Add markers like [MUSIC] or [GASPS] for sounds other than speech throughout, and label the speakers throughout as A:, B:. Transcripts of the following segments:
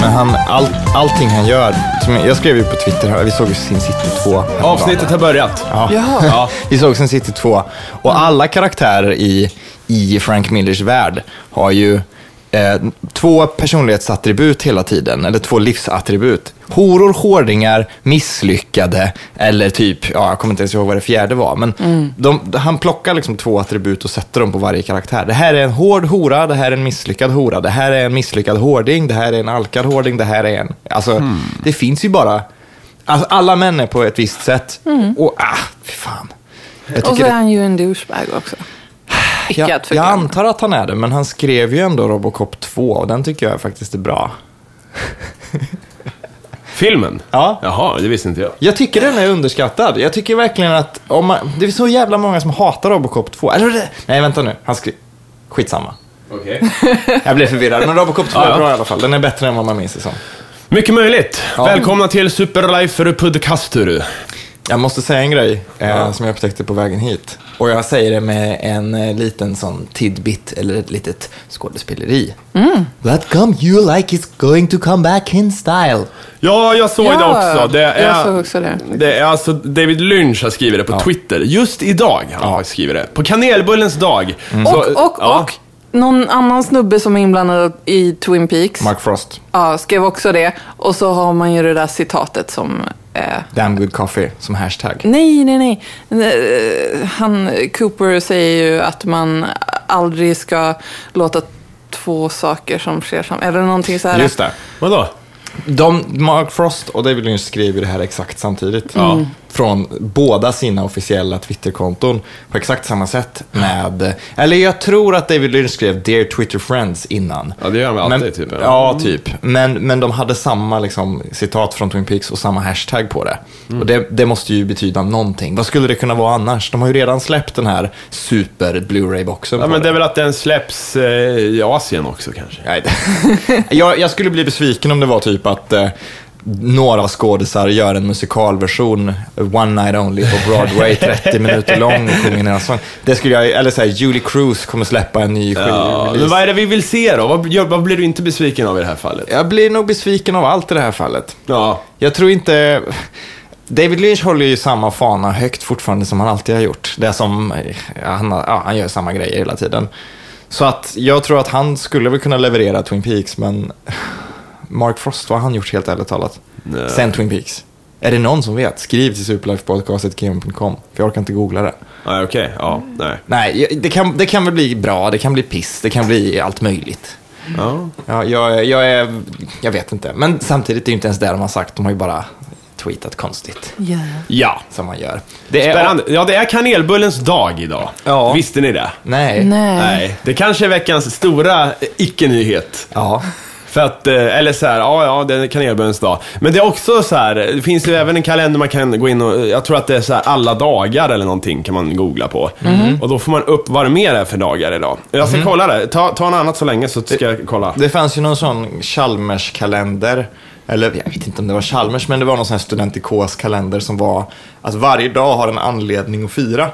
A: han, all, allting han gör. Som jag, jag skrev ju på Twitter, här, vi såg ju Sin City 2. häromdagen.
B: Avsnittet har börjat.
A: Ja.
B: Ja.
A: Vi såg Sin City 2. Och alla karaktärer i, i Frank Millers värld har ju eh, två personlighetsattribut hela tiden, eller två livsattribut. Horor, hårdingar, misslyckade eller typ, ja, jag kommer inte ens ihåg vad det fjärde var, men de, han plockar liksom två attribut och sätter dem på varje karaktär. Det här är en hård hora, det här är en misslyckad hora, det här är en misslyckad hårding, det här är en alkad hårding, det här är en... Alltså, det finns ju bara... Alltså, alla män är på ett visst sätt. Och ah, fy fan. Jag
C: Mm. Och så
A: tycker
C: är
A: det-
C: han ju en douchebag
A: [SIGHS]
C: också. Icke
A: jag,
C: att
A: jag
C: förglömma.
A: antar att han är det, men han skrev ju ändå Robocop 2 och den tycker jag faktiskt är bra.
B: Filmen?
A: Ja.
B: Jaha, det visste inte jag.
A: Jag tycker den är underskattad. Jag tycker verkligen att om man, det är så jävla många som hatar Robocop 2. Eller det, nej, vänta nu. Han skrev... Skitsamma.
B: Okej.
A: Jag blev förvirrad, men Robocop 2
B: Ja, ja.
A: är bra i alla fall. Den är bättre än vad man minns det som.
B: Mycket möjligt. Välkomna till Superlife Podcasturu.
A: Jag måste säga en grej eh, som jag upptäckte på vägen hit. Och jag säger det med en eh, liten sån tidbit eller ett litet skådespeleri. What come you like is going to come back in style.
B: Ja, jag såg
C: Ja,
B: det också. Det är,
C: jag såg också det.
B: är alltså David Lynch har skrivit det på Twitter. Just idag har han faktiskt skrivit det. På kanelbullens dag. Så,
C: Och, och,
B: ja.
C: och någon annan snubbe som är inblandad i Twin Peaks
A: Mark Frost,
C: ja, skrev också det. Och så har man ju det där citatet som... Eh,
A: damn good coffee som hashtag.
C: nej, nej, nej. Eh, Han, Cooper säger ju att man aldrig ska låta två saker som sker sam. Eller någonting så här.
A: Just det.
B: Vadå?
A: De, Mark Frost och David Lynch skriver det här exakt samtidigt.
B: Mm.
A: Från båda sina officiella Twitterkonton på exakt samma sätt. Med, eller jag tror att David Lynch skrev Dear Twitter Friends innan.
B: Ja, det gör han väl alltid, typ, eller?
A: Ja, typ. Men, men de hade samma liksom, citat från Twin Peaks och samma hashtag på det.
B: Mm.
A: Och det, det måste ju betyda någonting. Vad skulle det kunna vara annars? De har ju redan släppt den här super Blu-ray-boxen.
B: Ja,
A: på
B: men det
A: det.
B: är väl att den släpps eh, i Asien också kanske.
A: Nej, det- [LAUGHS] jag, jag skulle bli besviken om det var typ att eh, några skådisar gör en musikalversion, One Night Only på Broadway,
B: [LAUGHS]
A: 30 minuter lång, och sjunger en sång. Det skulle jag, eller såhär, Julie Cruz kommer släppa en ny
B: Ja, men
A: skivrelease.
B: vad är det vi vill se då? Vad, gör- vad blir du inte besviken av i det här fallet?
A: Jag blir nog besviken av allt i det här fallet.
B: Ja.
A: Jag tror inte... David Lynch håller ju samma fana högt fortfarande som han alltid har gjort. Det är som, ja, han, har- ja, han gör samma grejer hela tiden. Så att jag tror att han skulle väl kunna leverera Twin Peaks, men Mark Frost, vad har han gjort helt ärligt talat? Sen Twin Peaks. Är det någon som vet? Skriv till superlifepodcastetgm.com, för jag orkar inte googla det.
B: Nej, okej. Ja, nej.
A: Nej, jag- det kan, det kan väl bli bra, det kan bli piss, det kan bli allt möjligt.
B: Ja.
A: Ja, jag, jag, är, jag vet inte, men samtidigt är det ju inte ens det de har sagt, de har ju bara tweetat konstigt
C: Ja.
B: ja.
A: som man gör. Det är,
B: Spännande. Ja, det är kanelbullens dag idag.
A: Ja.
B: Visste ni det?
A: Nej.
C: Nej.
B: Nej. Det kanske är veckans stora eh, icke-nyhet.
A: Ja.
B: För att, eh, eller så här, ja, ja, det är kanelbullens dag. Men det är också så här, det finns ju även en kalender man kan gå in och, jag tror att det är så här alla dagar eller någonting kan man googla på. Och då får man upp vad det mer är för dagar idag. Jag ska kolla det, ta, ta något annat så länge så ska jag kolla.
A: Det fanns ju någon sån Chalmers-kalender, eller jag vet inte om det var Chalmers, men det var någon sån här studentikos-kalender som var att varje dag har en anledning att fira.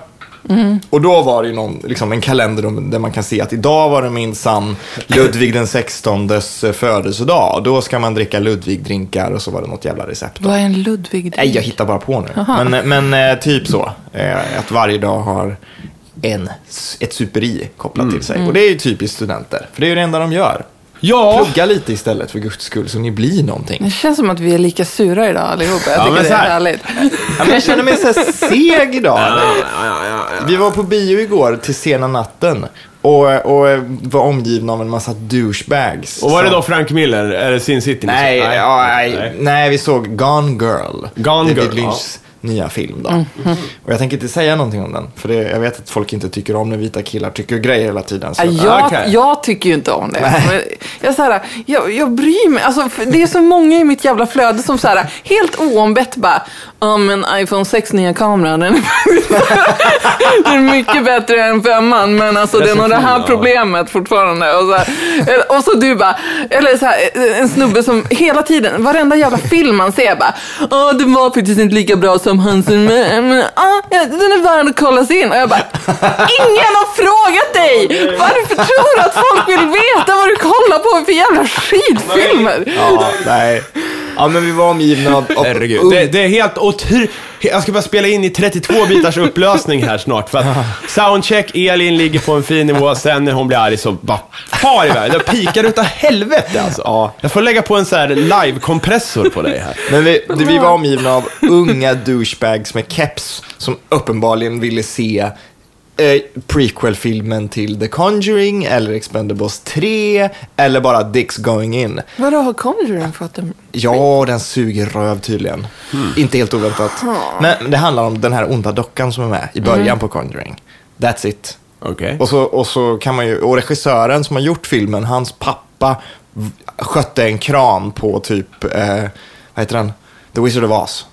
A: Och då var det ju någon, liksom en kalender om- där man kan se att idag var det minsann Ludvig den 16:s födelsedag. Och Då ska man dricka Ludvig-drinkar och så var det något jävla recept.
C: Vad är en Ludvig?
A: Nej, jag hittar bara på nu. Men, men eh, typ så. Eh, Att varje dag har en, ett superi kopplat till sig. Och det är ju typiskt studenter. För det är ju det enda de gör.
B: Ja!
A: Plugga lite istället för guds skull så ni blir någonting.
C: [LAUGHS] Det känns som att vi är lika sura idag allihopa. Jag
B: Ja,
C: tycker
B: men
C: det
B: så
C: är
B: här.
C: härligt.
A: Ja, men jag känner mig så här seg idag. Vi var på bio igår till sena natten. Och, och var omgivna av en massa douchebags.
B: Och var det
A: Så-
B: då Frank Miller, eller Sin City?
A: Nej,
B: Nej.
A: ja, nej, nej. vi såg Gone Girl.
B: Gone
A: David
B: Girl,
A: Lynchs nya film då. Och jag tänker inte säga någonting om den. För det, jag vet att folk inte tycker om när vita killar tycker grejer hela tiden. Så
C: Ja, jag,
B: Okej.
C: jag tycker ju inte om det. Men Jag, så här, jag, jag bryr mig. Alltså, för det är så många i mitt jävla flöde som så här, helt oombett bara Ja men iPhone 6 nya kameran den är, [LAUGHS] den är mycket bättre än femman men alltså det är nog det här
B: Recension, ja.
C: problemet fortfarande. Och så, här, eh, och så du bara, eller så här, eh, en snubbe som hela tiden, varenda jävla film man ser bara Ja den var faktiskt inte lika bra som som hans... Men, men, ah, ja, den är värd att kollas in. Och jag bara, ingen har frågat dig! Varför tror du att folk vill veta vad du kollar på för jävla skitfilmer?
A: Ja, nej. Ja, men vi var omgivna av... av
B: Herregud. Det, det är helt otroligt. Jag ska bara spela in i 32 bitars upplösning här snart. För att soundcheck, Elin ligger på en fin nivå, sen när hon blir arg så bara far iväg. Det pikar utav helvete alltså.
A: Ja.
B: Jag får lägga på en så här live-kompressor på dig här.
A: Men vi, det- vi var omgivna av unga douchebags med keps som uppenbarligen ville se eh, prequel-filmen till The Conjuring eller Expendables 3 eller bara Dicks Going In.
C: Vadå, har Conjuring fått en...
A: Ja, den suger röv tydligen. Inte helt oväntat. Men det handlar om den här onda dockan som är med i början på Conjuring. That's it.
B: Okej.
A: Och så, och så kan man ju, och regissören som har gjort filmen, hans pappa v- skötte en kran på typ, eh, vad heter den? The Wizard of Oz.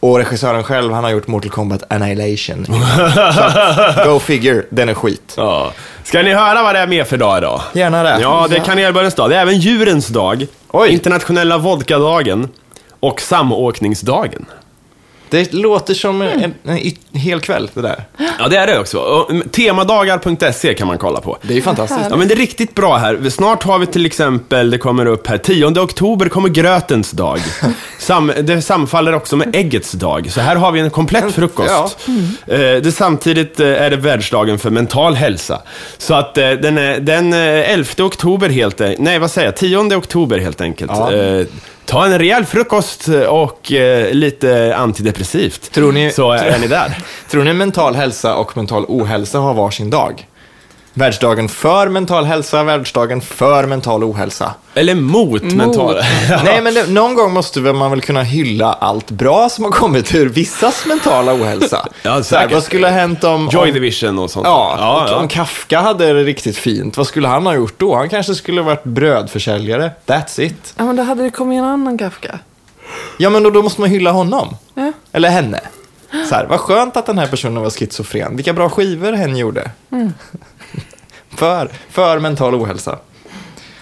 A: Och regissören själv, han har gjort Mortal Kombat Annihilation. så att, go figure, den är skit.
B: Ja. Ska ni höra vad det är med för dag idag?
A: Gärna det.
B: Ja, det är kanelbullens dag. Det är även djurens dag,
A: Oj.
B: internationella vodkadagen och samåkningsdagen.
A: Det låter som en, en, en y- hel kväll det där.
B: Ja, det är det också. Och, mm, Temadagar.se E kan man kolla på.
A: Det är ju fantastiskt.
B: Ja, men det är riktigt bra här. Snart har vi till exempel, det kommer upp här, 10 oktober kommer grötens [LAUGHS] dag. Sam, det samfaller också med äggets dag, så här har vi en komplett frukost. Eh, det, samtidigt eh, är det världsdagen för mental hälsa. Så att eh, den, är, den eh, 11 oktober helt enkelt, nej vad säger jag, 10 oktober helt enkelt.
A: Ja.
B: Eh, ta en rejäl frukost och eh, lite antidepressivt.
A: Tror ni-
B: så är ni
A: [LAUGHS]
B: där.
A: Tror ni mental hälsa och mental ohälsa har varsin dag? Världsdagen för mental hälsa, världsdagen för mental ohälsa.
B: Eller mot, mental... [LAUGHS]
A: Nej, men det, någon gång måste väl man väl kunna hylla allt bra som har kommit ur vissas mentala ohälsa.
B: Ja,
A: Så här,
B: säkert.
A: vad skulle ha hänt om...
B: Joy
A: om
B: Division och sånt.
A: Ja, och om Kafka hade det riktigt fint, vad skulle han ha gjort då? Han kanske skulle ha varit brödförsäljare. That's it.
C: Ja, men då hade det kommit en annan Kafka.
A: Ja, men då, då måste man hylla honom.
C: Ja.
A: Eller henne. Så här, vad skönt att den här personen var schizofren. Vilka bra skivor hen gjorde. [LAUGHS] för, för mental ohälsa.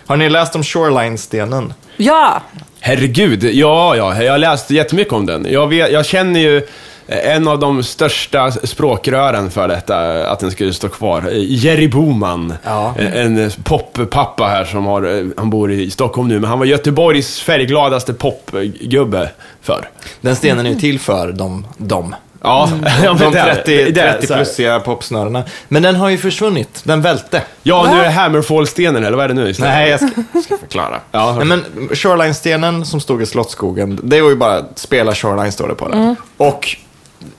A: Har ni läst om Shoreline-stenen?
C: Ja!
B: Herregud, ja, ja, jag har läst jättemycket om den. Jag, vet, jag känner ju en av de största språkrören för detta, att den skulle stå kvar. Jerry Boman,
A: Ja.
B: en poppappa här som har, han bor i Stockholm nu, men han var Göteborgs färggladaste popgubbe förr.
A: Den stenen är ju till för dem. dem.
B: Ja, [LAUGHS] ja men
A: Mm. De
B: där-
A: 30,
B: där,
A: 30
B: så här.
A: plussiga popsnörena. Men den har ju försvunnit. Den välte.
B: Ja, nu är det Hammerfall-stenen, eller vad är det nu? istället?
A: Nej, jag ska, [LAUGHS] ska förklara.
B: Ja.
A: Nej, men Shoreline-stenen som stod i Slottsskogen, det var ju bara spela Shoreline står det på den.
B: Mm.
A: Och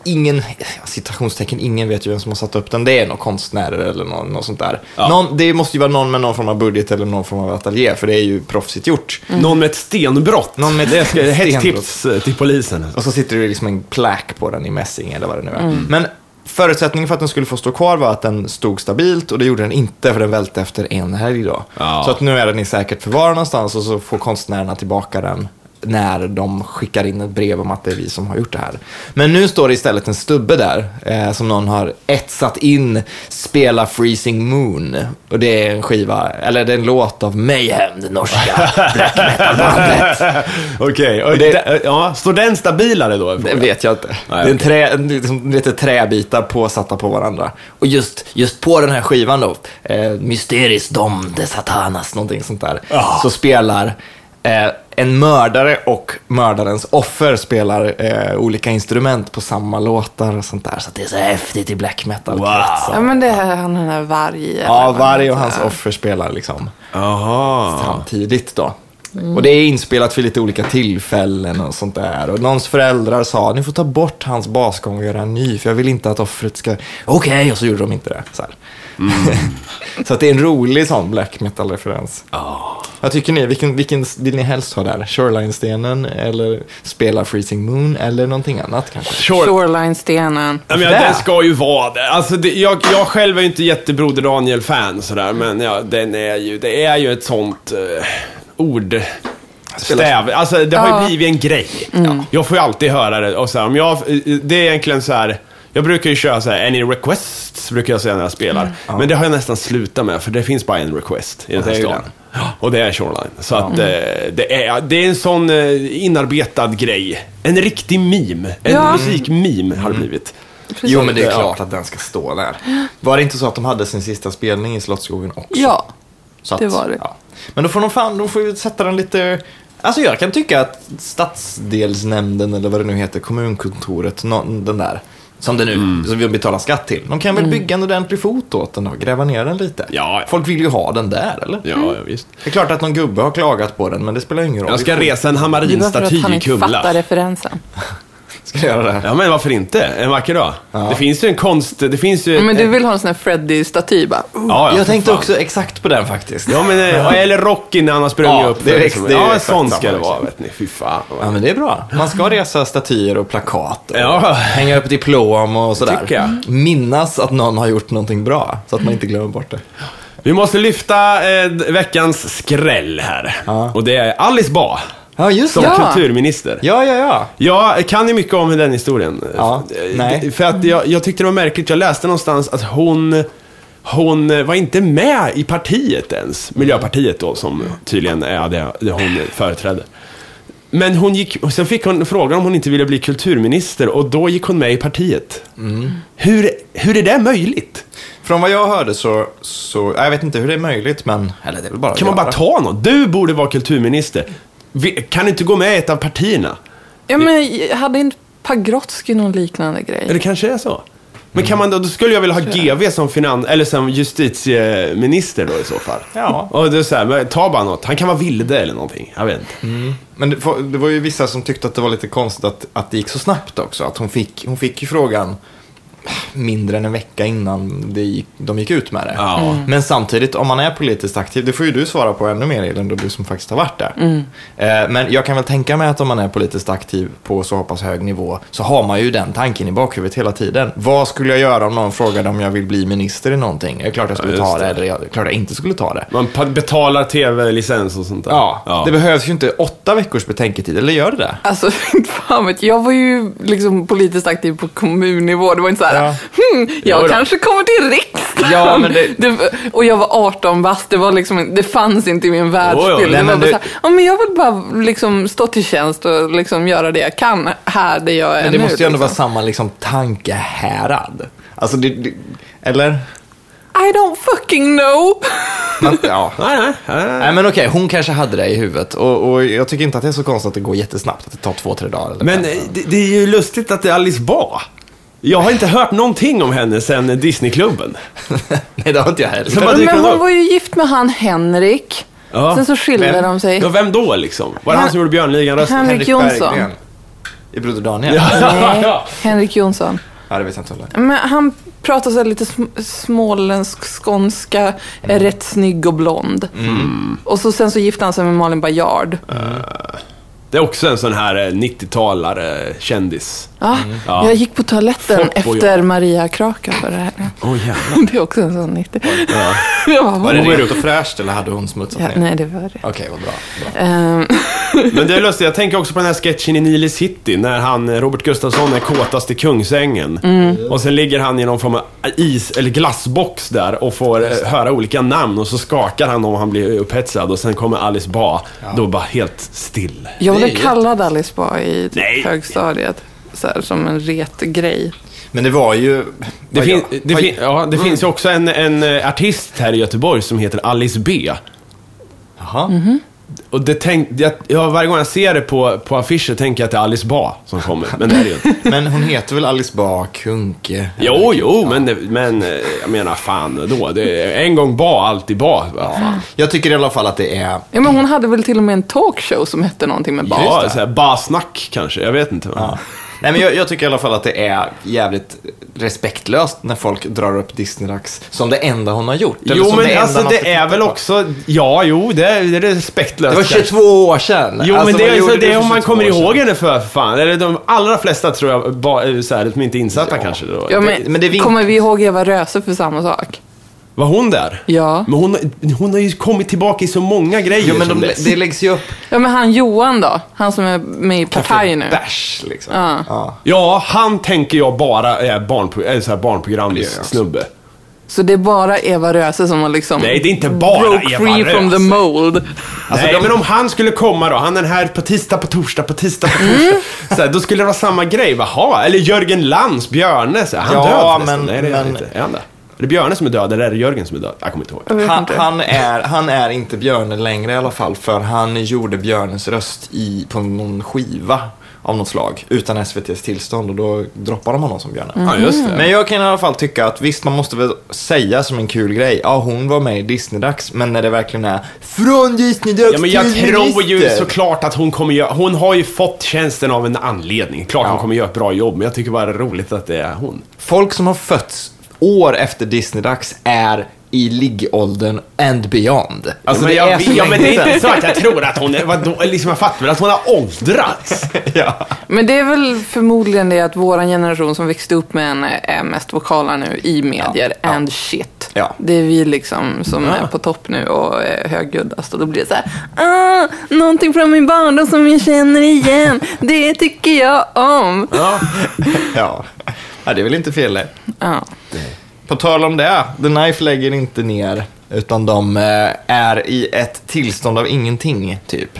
A: ingen, citationstecken, ingen vet ju vem som har satt upp den. Det är någon konstnärer eller någon, något sånt där.
B: Ja.
A: Någon, det måste ju vara någon med någon form av budget eller någon form av ateljé, för det är ju proffsigt gjort.
B: Någon med ett stenbrott.
A: Någon med
B: [LAUGHS]
A: ett
B: det ska,
A: stenbrott.
B: Hets-tips till polisen.
A: Och så sitter det liksom en plack på den i mässing eller vad det nu är. Men förutsättningen för att den skulle få stå kvar var att den stod stabilt och det gjorde den inte för den välte efter en helg då.
B: Ja.
A: Så att nu är den i säkert förvar någonstans och så får konstnärerna tillbaka den när de skickar in ett brev om att det är vi som har gjort det här. Men nu står det istället en stubbe där eh, som någon har etsat in Spela Freezing Moon. Och det är en skiva, eller det är en låt av Mayhem, det norska black metal-bandet.
B: Okej, och
A: det-
B: det- eh, ja, står den stabilare då?
A: Det vet jag inte. det är en trä, en liksom, lite träbitar påsatta på varandra. Och just, just på den här skivan då, eh, Mysteris Dom de Satanas, någonting sånt där,
B: Ja.
A: så spelar eh, en mördare och mördarens offer spelar eh, olika instrument på samma låtar och sånt där. Så att det är så häftigt i black metal
C: Ja, men det är han den här varg...
A: Ja, varg och hans offer spelar liksom
B: Jaha.
A: samtidigt då. Och det är inspelat för lite olika tillfällen och sånt där. Och någons föräldrar sa, ni får ta bort hans basgång och göra en ny, för jag vill inte att offret ska... Okej, och så gjorde de inte det. Så, här. Mm. [LAUGHS] så att det är en rolig sån black metal-referens. Vad tycker ni? Vilken, vilken vill ni helst ha där? Shoreline-stenen eller spela Freezing Moon eller någonting annat kanske?
B: Short.
C: Shoreline-stenen.
B: Ja, men,
A: Där.
B: ja, den ska ju vara det. Alltså, det jag, jag själv är ju inte jättebroder Daniel-fan sådär, men ja, den är ju, det är ju ett sånt eh, ord... Stäv. Alltså det har ju
C: Ja.
B: blivit en grej. Jag får ju alltid höra det. Och så här, om jag, eh, det är egentligen så här. Jag brukar ju köra så här, any requests, brukar jag säga när jag spelar. Men det har jag nästan slutat med, för det finns bara en request i den
A: det
B: här
A: är ju
B: stan.
A: den.
B: Och det är Shoreline. Så att eh, det, är, det är en sån eh, inarbetad grej. En riktig meme. En
C: Ja.
B: musikmeme har det blivit.
A: Jo, men det är
B: Ja.
A: klart att den ska stå där. Var det inte så att de hade sin sista spelning i Slottsskogen också?
C: Ja.
A: Så att,
C: det var det.
A: Ja. Men då får de fan, de får ju sätta den lite... Alltså jag kan tycka att stadsdelsnämnden eller vad det nu heter, kommunkontoret, nå- den där, som det nu,
B: Mm.
A: som vi betalar skatt till. De kan väl
C: Mm.
A: bygga en ordentlig fot åt den och gräva ner den lite.
B: Ja, ja.
A: Folk vill ju ha den där, eller?
B: Ja, ja, visst.
A: Det är klart att någon gubbe har klagat på den, men det spelar ju ingen roll.
B: Mm. Jag ska
A: Vi får-
B: resa en
C: Det är bara för att
B: Hamarin-staty
C: han
B: i
C: inte fattar
B: Kumla.
C: referensen.
A: Ska jag göra det? här?
B: Ja, men varför inte? En vacker dag.
A: Ja.
B: Det finns ju en konst... Det finns ju...
A: Eh,
C: Men du vill ha en sån här Freddy-staty bara. "Oh."
B: ja, ja,
A: jag
B: för
A: tänkte
B: fan.
A: också exakt på den faktiskt.
B: Ja, men, eh, eller rock innan han har sprungit
A: Ja,
B: upp.
A: det är
B: för
A: ex-
B: liksom.
A: det är
B: ja,
A: exakt
B: sån ska
A: samma,
B: det vara,
A: liksom.
B: vet ni. Fy fan.
A: Ja, men det är bra. Man ska resa statyer och plakat. Och
B: Ja.
A: Hänga upp diplom och sådär.
B: Tycker jag.
A: Minnas att någon har gjort någonting bra, så att man inte glömmer bort det.
B: Vi måste lyfta eh, veckans skräll här.
A: Ja.
B: Och det är Alice Bah
A: Ja, just
B: som
A: det.
C: Ja.
B: kulturminister.
A: Ja, ja, ja.
B: Jag kan ju mycket om den historien.
A: Ja,
B: Eh,
A: nej.
B: För att jag, jag tyckte det var märkligt, jag läste någonstans att hon, hon eh, var inte med i partiet ens. Miljöpartiet då, som tydligen är det, det hon företräder. Men hon gick, och sen fick hon frågan om hon inte ville bli kulturminister och då gick hon med i partiet.
A: Mm.
B: Hur, hur är det möjligt?
A: Från vad jag hörde så, så, jag vet inte hur det är möjligt, men, eller det är väl bara att
B: Kan man
A: göra.
B: bara ta någon? Du borde vara kulturminister. Vi- Kan du inte gå med i ett av partierna?
C: Ja, men hade inte Pagrotsky någon liknande grej?
B: Eller kanske är så. Men kan man då, då skulle jag vilja ha GV som finans, eller som justitieminister då i så fall.
A: Ja.
B: Och det är så här, men ta bara något. Han kan vara vilde eller någonting. Jag vet inte.
A: Men det, var- det var ju vissa som tyckte att det var lite konstigt att, att det gick så snabbt också. Att hon fick, hon fick ju frågan mindre än en vecka innan det gick, de gick ut med det.
B: Ja. Mm.
A: Men samtidigt, om man är politiskt aktiv, det får ju du svara på ännu mer Elin, då du som faktiskt har varit där. Eh, men jag kan väl tänka mig att om man är politiskt aktiv på så pass hög nivå så har man ju den tanken i bakhuvudet hela tiden. Vad skulle jag göra om någon frågade om jag vill bli minister i någonting? Det är klart jag skulle
B: Ja, just
A: ta det,
B: det.
A: eller jag, det är klart jag inte skulle ta det.
B: Man pa- betalar tv-licens och sånt där.
A: Ja, det behövs ju inte åtta veckors betänketid, eller gör det det?
C: Alltså, [LAUGHS] inte fan vet jag. Jag var ju liksom politiskt aktiv på kommunnivå. Det var inte så här,
A: Ja.
C: hmm, jag
B: Jo då.
C: kanske kommer till riksdagen.
A: Ja, men
C: [LAUGHS]
A: det-
C: och jag var 18 bast. Det, var liksom, det fanns inte i min
B: Jo, jo,
C: världsbild.
A: nej,
C: det var
A: men
C: bara
A: det-
C: så här, ja, men jag vill bara liksom stå till tjänst och liksom göra det jag kan här där jag är
A: Men det
C: nu.
A: måste ju ändå
C: liksom.
A: vara samma liksom, tankehärad. Alltså, det, det, eller?
C: I don't fucking know. [LAUGHS]
A: Man, [LAUGHS] ja.
B: Nej, nej, nej, nej.
A: Nej men okej, hon kanske hade det i huvudet. Och, och jag tycker inte att det är så konstigt att det går jättesnabbt, att det tar två, tre dagar. Eller
B: Men
A: fem.
B: eh, det, det är ju lustigt att det är Alice Bah. Jag har inte hört någonting om henne sen Disneyklubben.
A: [LAUGHS] Nej, det har inte jag heller.
B: Så bara dyker
C: men
B: hon
C: hon
B: upp.
C: var ju gift med han Henrik.
B: Ja.
C: Sen så skilde
A: Vem?
C: de sig.
B: Ja, vem då liksom? Var det han som gjorde Björnligan-rösten?
C: Henrik Jonsson.
A: Berggren. I Broder Daniel? Ja.
B: [LAUGHS] Ja.
C: Nej, Henrik Jonsson.
A: det vet jag inte heller.
C: Men han pratar så här lite sm- småländsk, skånska,
B: Mm.
C: är rätt snygg och blond. Och så sen så gifte han sig med Malin Baryard.
B: Det är också en sån här eh, 90-talare kändis.
C: Ja,
B: Ja.
C: Jag gick på toaletten
B: Mm. Folk på
C: efter Maria Kraka för det här.
B: Åh oh, jävlar.
C: [LAUGHS] Det är också en sån 90. [LAUGHS] Jag bara,
A: Var
C: vad?
A: det rent och fräscht eller hade hon smutsat
C: Ja,
A: ner?
C: nej, det var det.
A: Okej, vad bra. bra.
C: Ehm,
B: Men det är lustigt, jag tänker också på den här sketchen i Nile City när han, eh, Robert Gustafsson är kåtast i Kungsängen. Och sen ligger han i någon form av is eller glassbox där och får eh, höra olika namn och så skakar han om han blir upphetsad och sen kommer Alice Bah. Då bara helt still.
C: jag
A: Det är
C: blev
A: ju-
C: kallad Alice Bah i
B: Nej.
C: högstadiet. Så här, som en retgrej.
A: Men det var ju...
B: Det,
A: vad
B: fin,
A: jag- Mm.
B: det,
A: vad-
B: fin, ja, det finns ju också en, en eh, artist här i Göteborg som heter Alice B.
A: Jaha.
C: Mhm.
B: Och det tänk, jag, ja, varje gång jag ser det på, på affischer tänker jag att det är Alice Bah som kommer, men det är det ju inte.
A: Men hon heter väl Alice Bah Kuhnke?
B: Jo, jo, men, det- men eh, jag menar fan då. Det är en gång Bah, alltid Bah. Ja, fan.
A: Jag tycker i alla fall att det är...
C: Ja, men hon hade väl till och med en talkshow som hette någonting med Bah.
B: Ja, så här, Bah-snack kanske, jag vet inte.
A: Ja. Nej, men jag, jag tycker i alla fall att det är jävligt respektlöst när folk drar upp Disney-rax som det enda hon har gjort. eller
B: Jo,
A: som
B: men
A: enda
B: alltså
A: man ska
B: det är
A: titta
B: väl
A: på.
B: också, ja, jo, det är, det är respektlöst.
A: Det var
B: kanske.
A: 22 år sedan.
B: Jo, men
A: Alltså,
B: det
A: vad
B: är så
A: gjorde du
B: det
A: för
B: om man
A: 22
B: kommer
A: år sedan?
B: ihåg henne för fan. Eller de allra flesta tror jag, ba, är så här, de är inte insatta
A: Ja.
B: kanske. Då.
C: Ja, men,
A: Det- men det är vink-
C: kommer vi ihåg Eva Röse för samma sak?
B: Var hon där?
C: Ja.
B: Men hon, hon har ju kommit tillbaka i så många grejer
A: Jo, men
B: sedan
A: de,
B: dess.
A: det läggs ju upp
C: Ja, men han Johan då? Han som är med i Partaj nu.
A: bärs liksom.
C: Ja.
A: Ja.
B: Ja, han tänker jag bara är barnpro- eller så här barnprogramssnubbe.
C: Så det är bara Eva Röse som har liksom...
B: Nej, det är inte bara
C: broke
B: Eva
C: free from
B: Röse.
C: the mold.
B: Alltså,
A: Nej,
B: Nej, men om han skulle komma då, han är här på tisdag, på torsdag, på tisdag, på torsdag.
C: Mm.
B: Så här, då skulle det vara samma grej, Jaha, eller Jörgen Lantz, Björne, så här, han
A: Ja,
B: död förresten?
A: men-
B: Nej, det är han
A: men-
B: inte. Är han det? Är det Björne som är död eller är det Jörgen som är död? Jag kommer inte ihåg.
C: Jag vet
A: Han,
C: inte.
A: han, är, han är inte Björne längre i alla fall, för han gjorde Björnes röst i, på någon skiva av något slag, utan SVTs tillstånd och då droppar de honom som Björne.
B: Ja, just det.
A: Men jag kan i alla fall tycka att visst, man måste väl säga som en kul grej, ja hon var med i Disneydags, men när det verkligen är från Disneydags
B: Ja, men jag
A: till
B: tror ju
A: minister."
B: såklart att hon kommer göra, hon har ju fått tjänsten av en anledning. Klart hon kommer göra ett bra jobb, men jag tycker bara det är roligt att det är hon.
A: Folk som har fötts år efter Disneydags är i liggåldern and beyond.
B: Alltså, men
A: Ja, det
B: jag,
A: är så
B: ja, men det
A: länge
B: är inte
A: sedan.
B: så att jag tror att hon är, vadå, liksom jag fattar väl att hon har åldrats.
A: [LAUGHS] ja.
C: Men det är väl förmodligen det att våran generation som växte upp med henne är mest vokala nu i medier.
A: Ja.
C: And shit.
A: Ja.
C: Det är vi liksom som är på topp nu och är högljuddast. Och då blir det så här, ah, någonting från min barndom som jag känner igen. Det tycker jag om.
B: Ja.
A: Ja. ja, det är väl inte fel det.
C: Ja.
A: På tal om det, The Knife lägger inte ner, utan de eh, är i ett tillstånd av ingenting, typ.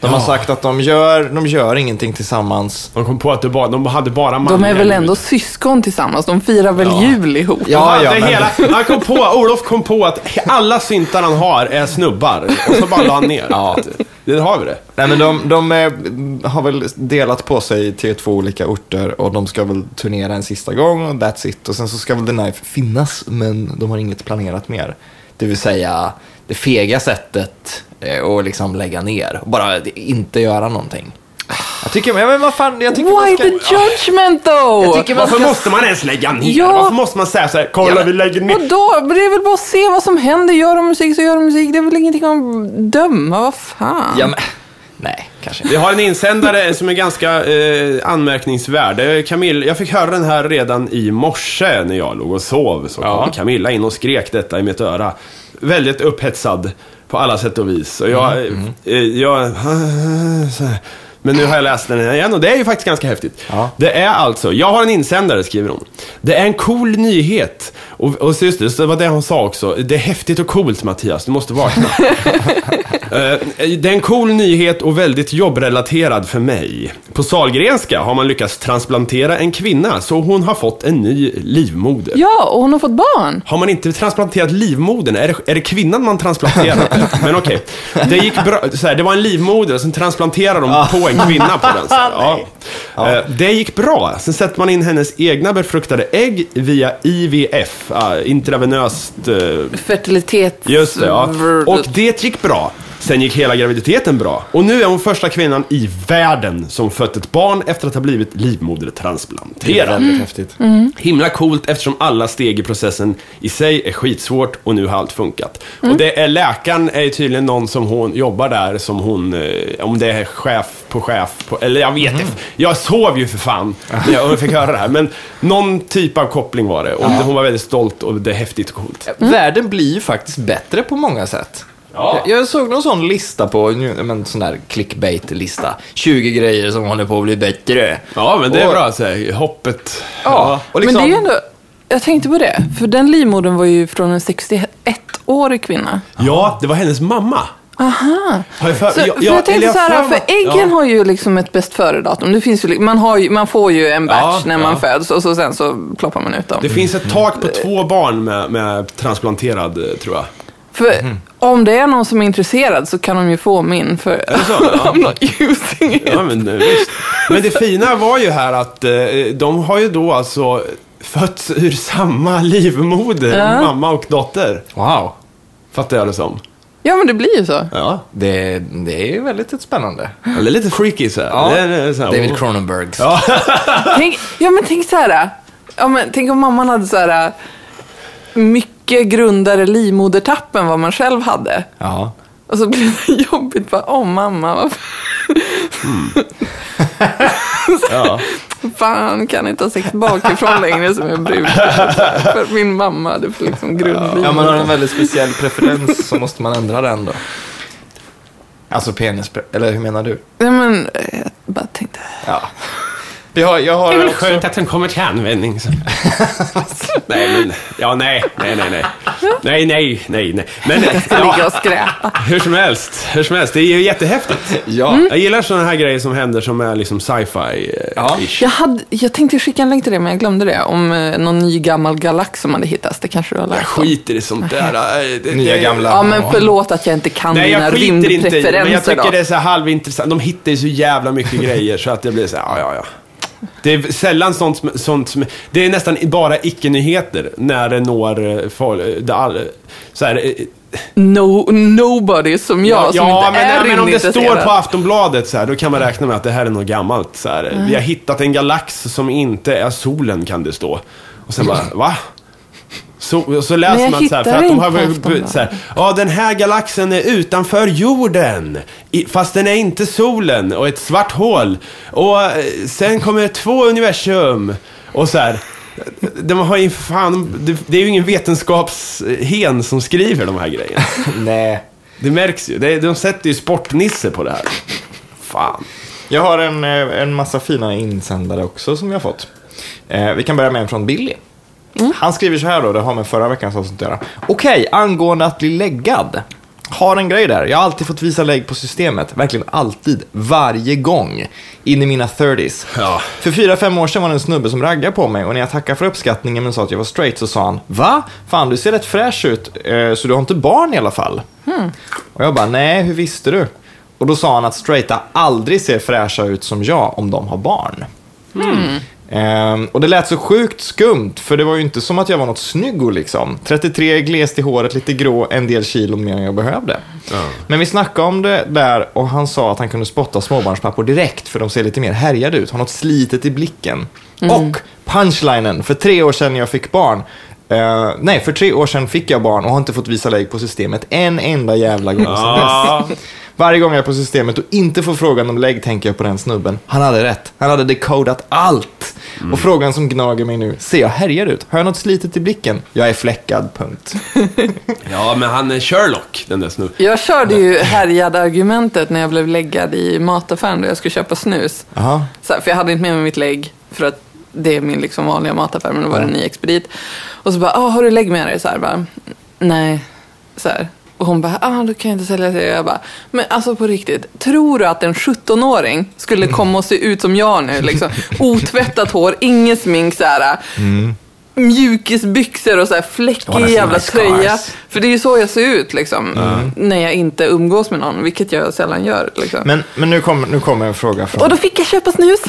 A: De har
B: Ja.
A: sagt att de gör, de gör ingenting tillsammans.
B: De kom på att det bara, de hade bara manliga
C: De är väl
B: ljud.
C: ändå syskon tillsammans? De firar väl jul ihop?
A: Ja,
B: han, hade
A: ja, men-
B: hela, han kom på, Olof kom på att alla syntar han har är snubbar. Och så bara la han ner.
A: Ja.
B: Det har vi det.
A: Nej, men de, de eh, har väl delat på sig till två olika orter och de ska väl turnera en sista gång och that's it. Och sen så ska väl The Knife finnas, men de har inget planerat mer. Det vill säga det fega sättet eh, att liksom lägga ner och bara inte göra någonting. Jag tycker, ja, men vad fan, jag tycker man
C: Why
A: ska...
C: the judgment though?
A: Jag tycker man
B: Varför
A: ska-
B: måste man ens lägga ner?
C: Ja.
B: Varför måste man säga så här, kolla
A: Ja, men-
B: vi lägger ner.
C: Vadå? Men Det är väl bara att se vad som händer. Gör de musik så gör de musik. Det är väl ingenting att döma. Vad fan?
A: Ja, men, nej, kanske inte.
B: Vi har en insändare som är ganska eh, anmärkningsvärd. Eh, Camilla, jag fick höra den här redan i morse när jag låg och sov. Så kom Camilla in och skrek detta i mitt öra. Väldigt upphetsad på alla sätt och vis. Och jag, eh, jag, [LAUGHS] så här. men nu har jag läst den igen och det är ju faktiskt ganska häftigt.
A: Ja.
B: Det är alltså, jag har en insändare skriver hon. Det är en cool nyhet. Och, och så just det, så det var det hon sa också. Det är häftigt och coolt Mattias, du måste vakna. Eh, Det är en cool nyhet och väldigt jobbrelaterad för mig. På Sahlgrenska har man lyckats transplantera en kvinna så hon har fått en ny livmoder.
C: Ja, och hon har fått barn.
B: Har man inte transplanterat livmodern? Är det, är det kvinnan man transplanterar? Men okej. Det gick bra. Så här, det var en livmoder och sen transplanterade de på en kvinna på den. Så här, ja. Eh, Det gick bra. Sen sätter man in hennes egna befruktade ägg via IVF, eh, intravenöst eh,
C: Fertilitet.
B: Just det, ja. Och det gick bra. Sen gick hela graviditeten bra. Och nu är hon första kvinnan i världen som fött ett barn efter att ha blivit
A: Det är
B: livmodertransplanterad. Mm.
A: väldigt häftigt.
B: Himla coolt eftersom alla steg i processen i sig är skitsvårt och nu har allt funkat. Och det är läkaren är ju tydligen någon som hon jobbar där som hon, eh, om det är chef på chef på, eller jag vet inte. Jag sov ju för fan när jag fick höra det här. Men någon typ av koppling var det. Och hon var väldigt stolt och det är häftigt och coolt.
A: Världen blir ju faktiskt bättre på många sätt.
B: Ja.
A: Jag, jag såg någon sån lista på, en sån där clickbait-lista. 20 grejer som håller på att bli bättre.
B: Ja, men det är
A: Och-
B: bra. Alltså, hoppet.
A: Ja, och liksom,
C: Men det är ju ändå... Jag tänkte på det, för den livmodern var ju från en 61-årig kvinna.
B: Ja, det var hennes mamma.
C: Aha.
B: Har jag för,
C: Så,
B: jag-
C: för
B: jag-
C: jag tänkte
B: eller
C: så här,
B: jag
C: för äggen har ju liksom ett bäst före-datum. Det finns ju, li- man, har ju, man får ju en batch
B: Ja,
C: när man
B: ja.
C: föds och så, sen så ploppar man ut dem.
B: Det finns ett tak på två barn med, med transplanterad, eh, tror jag.
C: För
B: Mhm.
C: om det är någon som är intresserad så kan de ju få min, för [LAUGHS] I'm not using it.
B: Ja, men, eh, visst. men det fina var ju här att eh, de har ju då alltså fötts ur samma livmoder,
C: Ja.
B: mamma och dotter.
A: Wow.
B: Fattar jag det som.
C: Ja, men det blir ju så.
B: Ja,
A: Det, det är ju väldigt spännande.
B: det är lite freaky så här. Det är, eh, så här
A: David
B: oh.
A: Cronenbergs.
C: Tänk, ja, men tänk så här. äh, Ja, men tänk om mamman hade så här äh, mycket grundare livmodertapp än vad man själv hade.
A: Ja.
C: Och så blir det jobbigt. Bara, Åh, mamma, vad
B: ja.
C: fan kan jag inte ha sex bakifrån längre som jag brukar. För min mamma hade liksom
A: ja, man har
C: grundlivmoder.
A: en väldigt speciell preferens så måste man ändra den då. Alltså penis, eller hur menar du?
C: Nej, men eh, jag bara tänkte.
A: Ja. Jag har, jag
B: Det är
A: har
B: väl
A: också...
B: skönt att den kommer till användning.
A: [LAUGHS]
B: Så. nej, men, ja, nej, nej, nej, nej, nej, nej, nej, nej. Men
A: [LAUGHS]
C: Ligga
B: ja,
C: och skräpa.
B: hur som helst, hur som helst, det är ju jättehäftigt. Mm.
A: Ja.
B: Jag gillar sådana här grejer som händer som är liksom sci-fi. eh,
A: Ja.
B: ish.
C: Jag, hade, jag tänkte skicka en länk till det, men jag glömde det. Om eh, någon ny gammal galax som hade hittats. Det kanske du har lärt dig.
B: Skiter i sånt där. eh, Det,
A: Nya
B: det,
A: gamla...
C: Ja, men förlåt att jag inte kan
B: Nej,
C: dina
B: jag skiter inte i det, men jag
C: rymdpreferenser.
B: tycker
C: då.
B: det är så här halvintressant. De hittar ju så jävla mycket grejer så att det blir så här, ja, ja, ja. Det är sällan sånt som, sånt som, det är nästan bara icke-nyheter när det når eh, folk, eh, det all, så här, eh,
C: No, nobody som jag, som
B: ja,
C: inte
B: men,
C: är
B: nej, men om det står
C: rymdintresserad.
B: på Aftonbladet så här, då kan man räkna med att det här är något gammalt. Så här.
C: Mm.
B: Vi har hittat en galax som inte är solen, kan det stå. Och sen bara, va? Så, så
C: Men
B: läser
C: jag
B: man så här, för
C: hittar
B: att de
C: inte
B: har väl-
C: Aftonbladet.
B: så här, ja den här galaxen är utanför jorden, i, fast den är inte solen och ett svart hål. Och eh, sen kommer två universum och så här. De har ju fan, det, det är ju ingen vetenskapshen som skriver de här grejerna.
A: Nej.
B: Det märks ju. Det- De sätter ju sportnisse på det här. Fan.
A: Jag har en, eh, en massa fina insändare också som jag har fått. Eh, vi kan börja med en från Billy. Han skriver så här då, det har med förra veckans avsnitt att göra. Okej, angående att bli läggad. Har en grej där. Jag har alltid fått visa lägg på systemet. Verkligen alltid. Varje gång. In i mina 30s.
B: Ja.
A: För fyra fem år sedan var det en snubbe som raggade på mig och när jag tackade för uppskattningen men sa att jag var straight så sa han Va? Fan du ser rätt fräsch ut eh, så du har inte barn i alla fall. Och jag bara nej hur visste du? Och då sa han att straighta aldrig ser fräscha ut som jag om de har barn. Ehm, och det lät så sjukt skumt, för det var ju inte som att jag var något snyggo liksom. 33, glest i håret, lite grå, en del kilo mer än jag behövde. Men vi snackade om det där och han sa att han kunde spotta småbarnspappor direkt, för de ser lite mer härjade ut, har något slitet i blicken. Och punchlinen, för tre år sedan jag fick barn, eh, nej, för tre år sedan fick jag barn och har inte fått visa lägg på systemet en enda jävla gång sedan
B: Ja.
A: dess. [LAUGHS] Varje gång jag är på systemet och inte får frågan om lägg tänker jag på den snubben. Han hade rätt. Han hade decodat allt.
B: Mm.
A: Och frågan som gnager mig nu, ser jag härjad ut? Har jag något slitet i blicken? Jag är fläckad, punkt.
B: Ja, men han är Sherlock, den där snubben.
C: Jag körde ju härjade argumentet när jag blev läggad i mataffären då jag skulle köpa snus.
A: Jaha.
C: Så här, för jag hade inte med mig mitt lägg för att det är min liksom vanliga mataffär, men då var det en ny expedit. Och så bara, ah, har du lägg med dig? Så här, bara, nej. Så här. Och hon bara, ah, då kan jag inte sälja till dig. Jag bara, men alltså på riktigt, tror du att en 17-åring skulle
A: Mm.
C: komma och se ut som jag nu? Liksom, otvättat hår, inget smink, så här,
A: Mm.
C: mjukisbyxor och så här
A: Oh,
C: fläckig
A: that's
C: jävla
A: nice
C: tröja.
A: cars.
C: För det är ju så jag ser ut liksom, när jag inte umgås med någon, vilket jag sällan gör. Liksom.
A: Men, men nu kommer nu kommer en fråga från...
C: Och då fick jag köpa snus.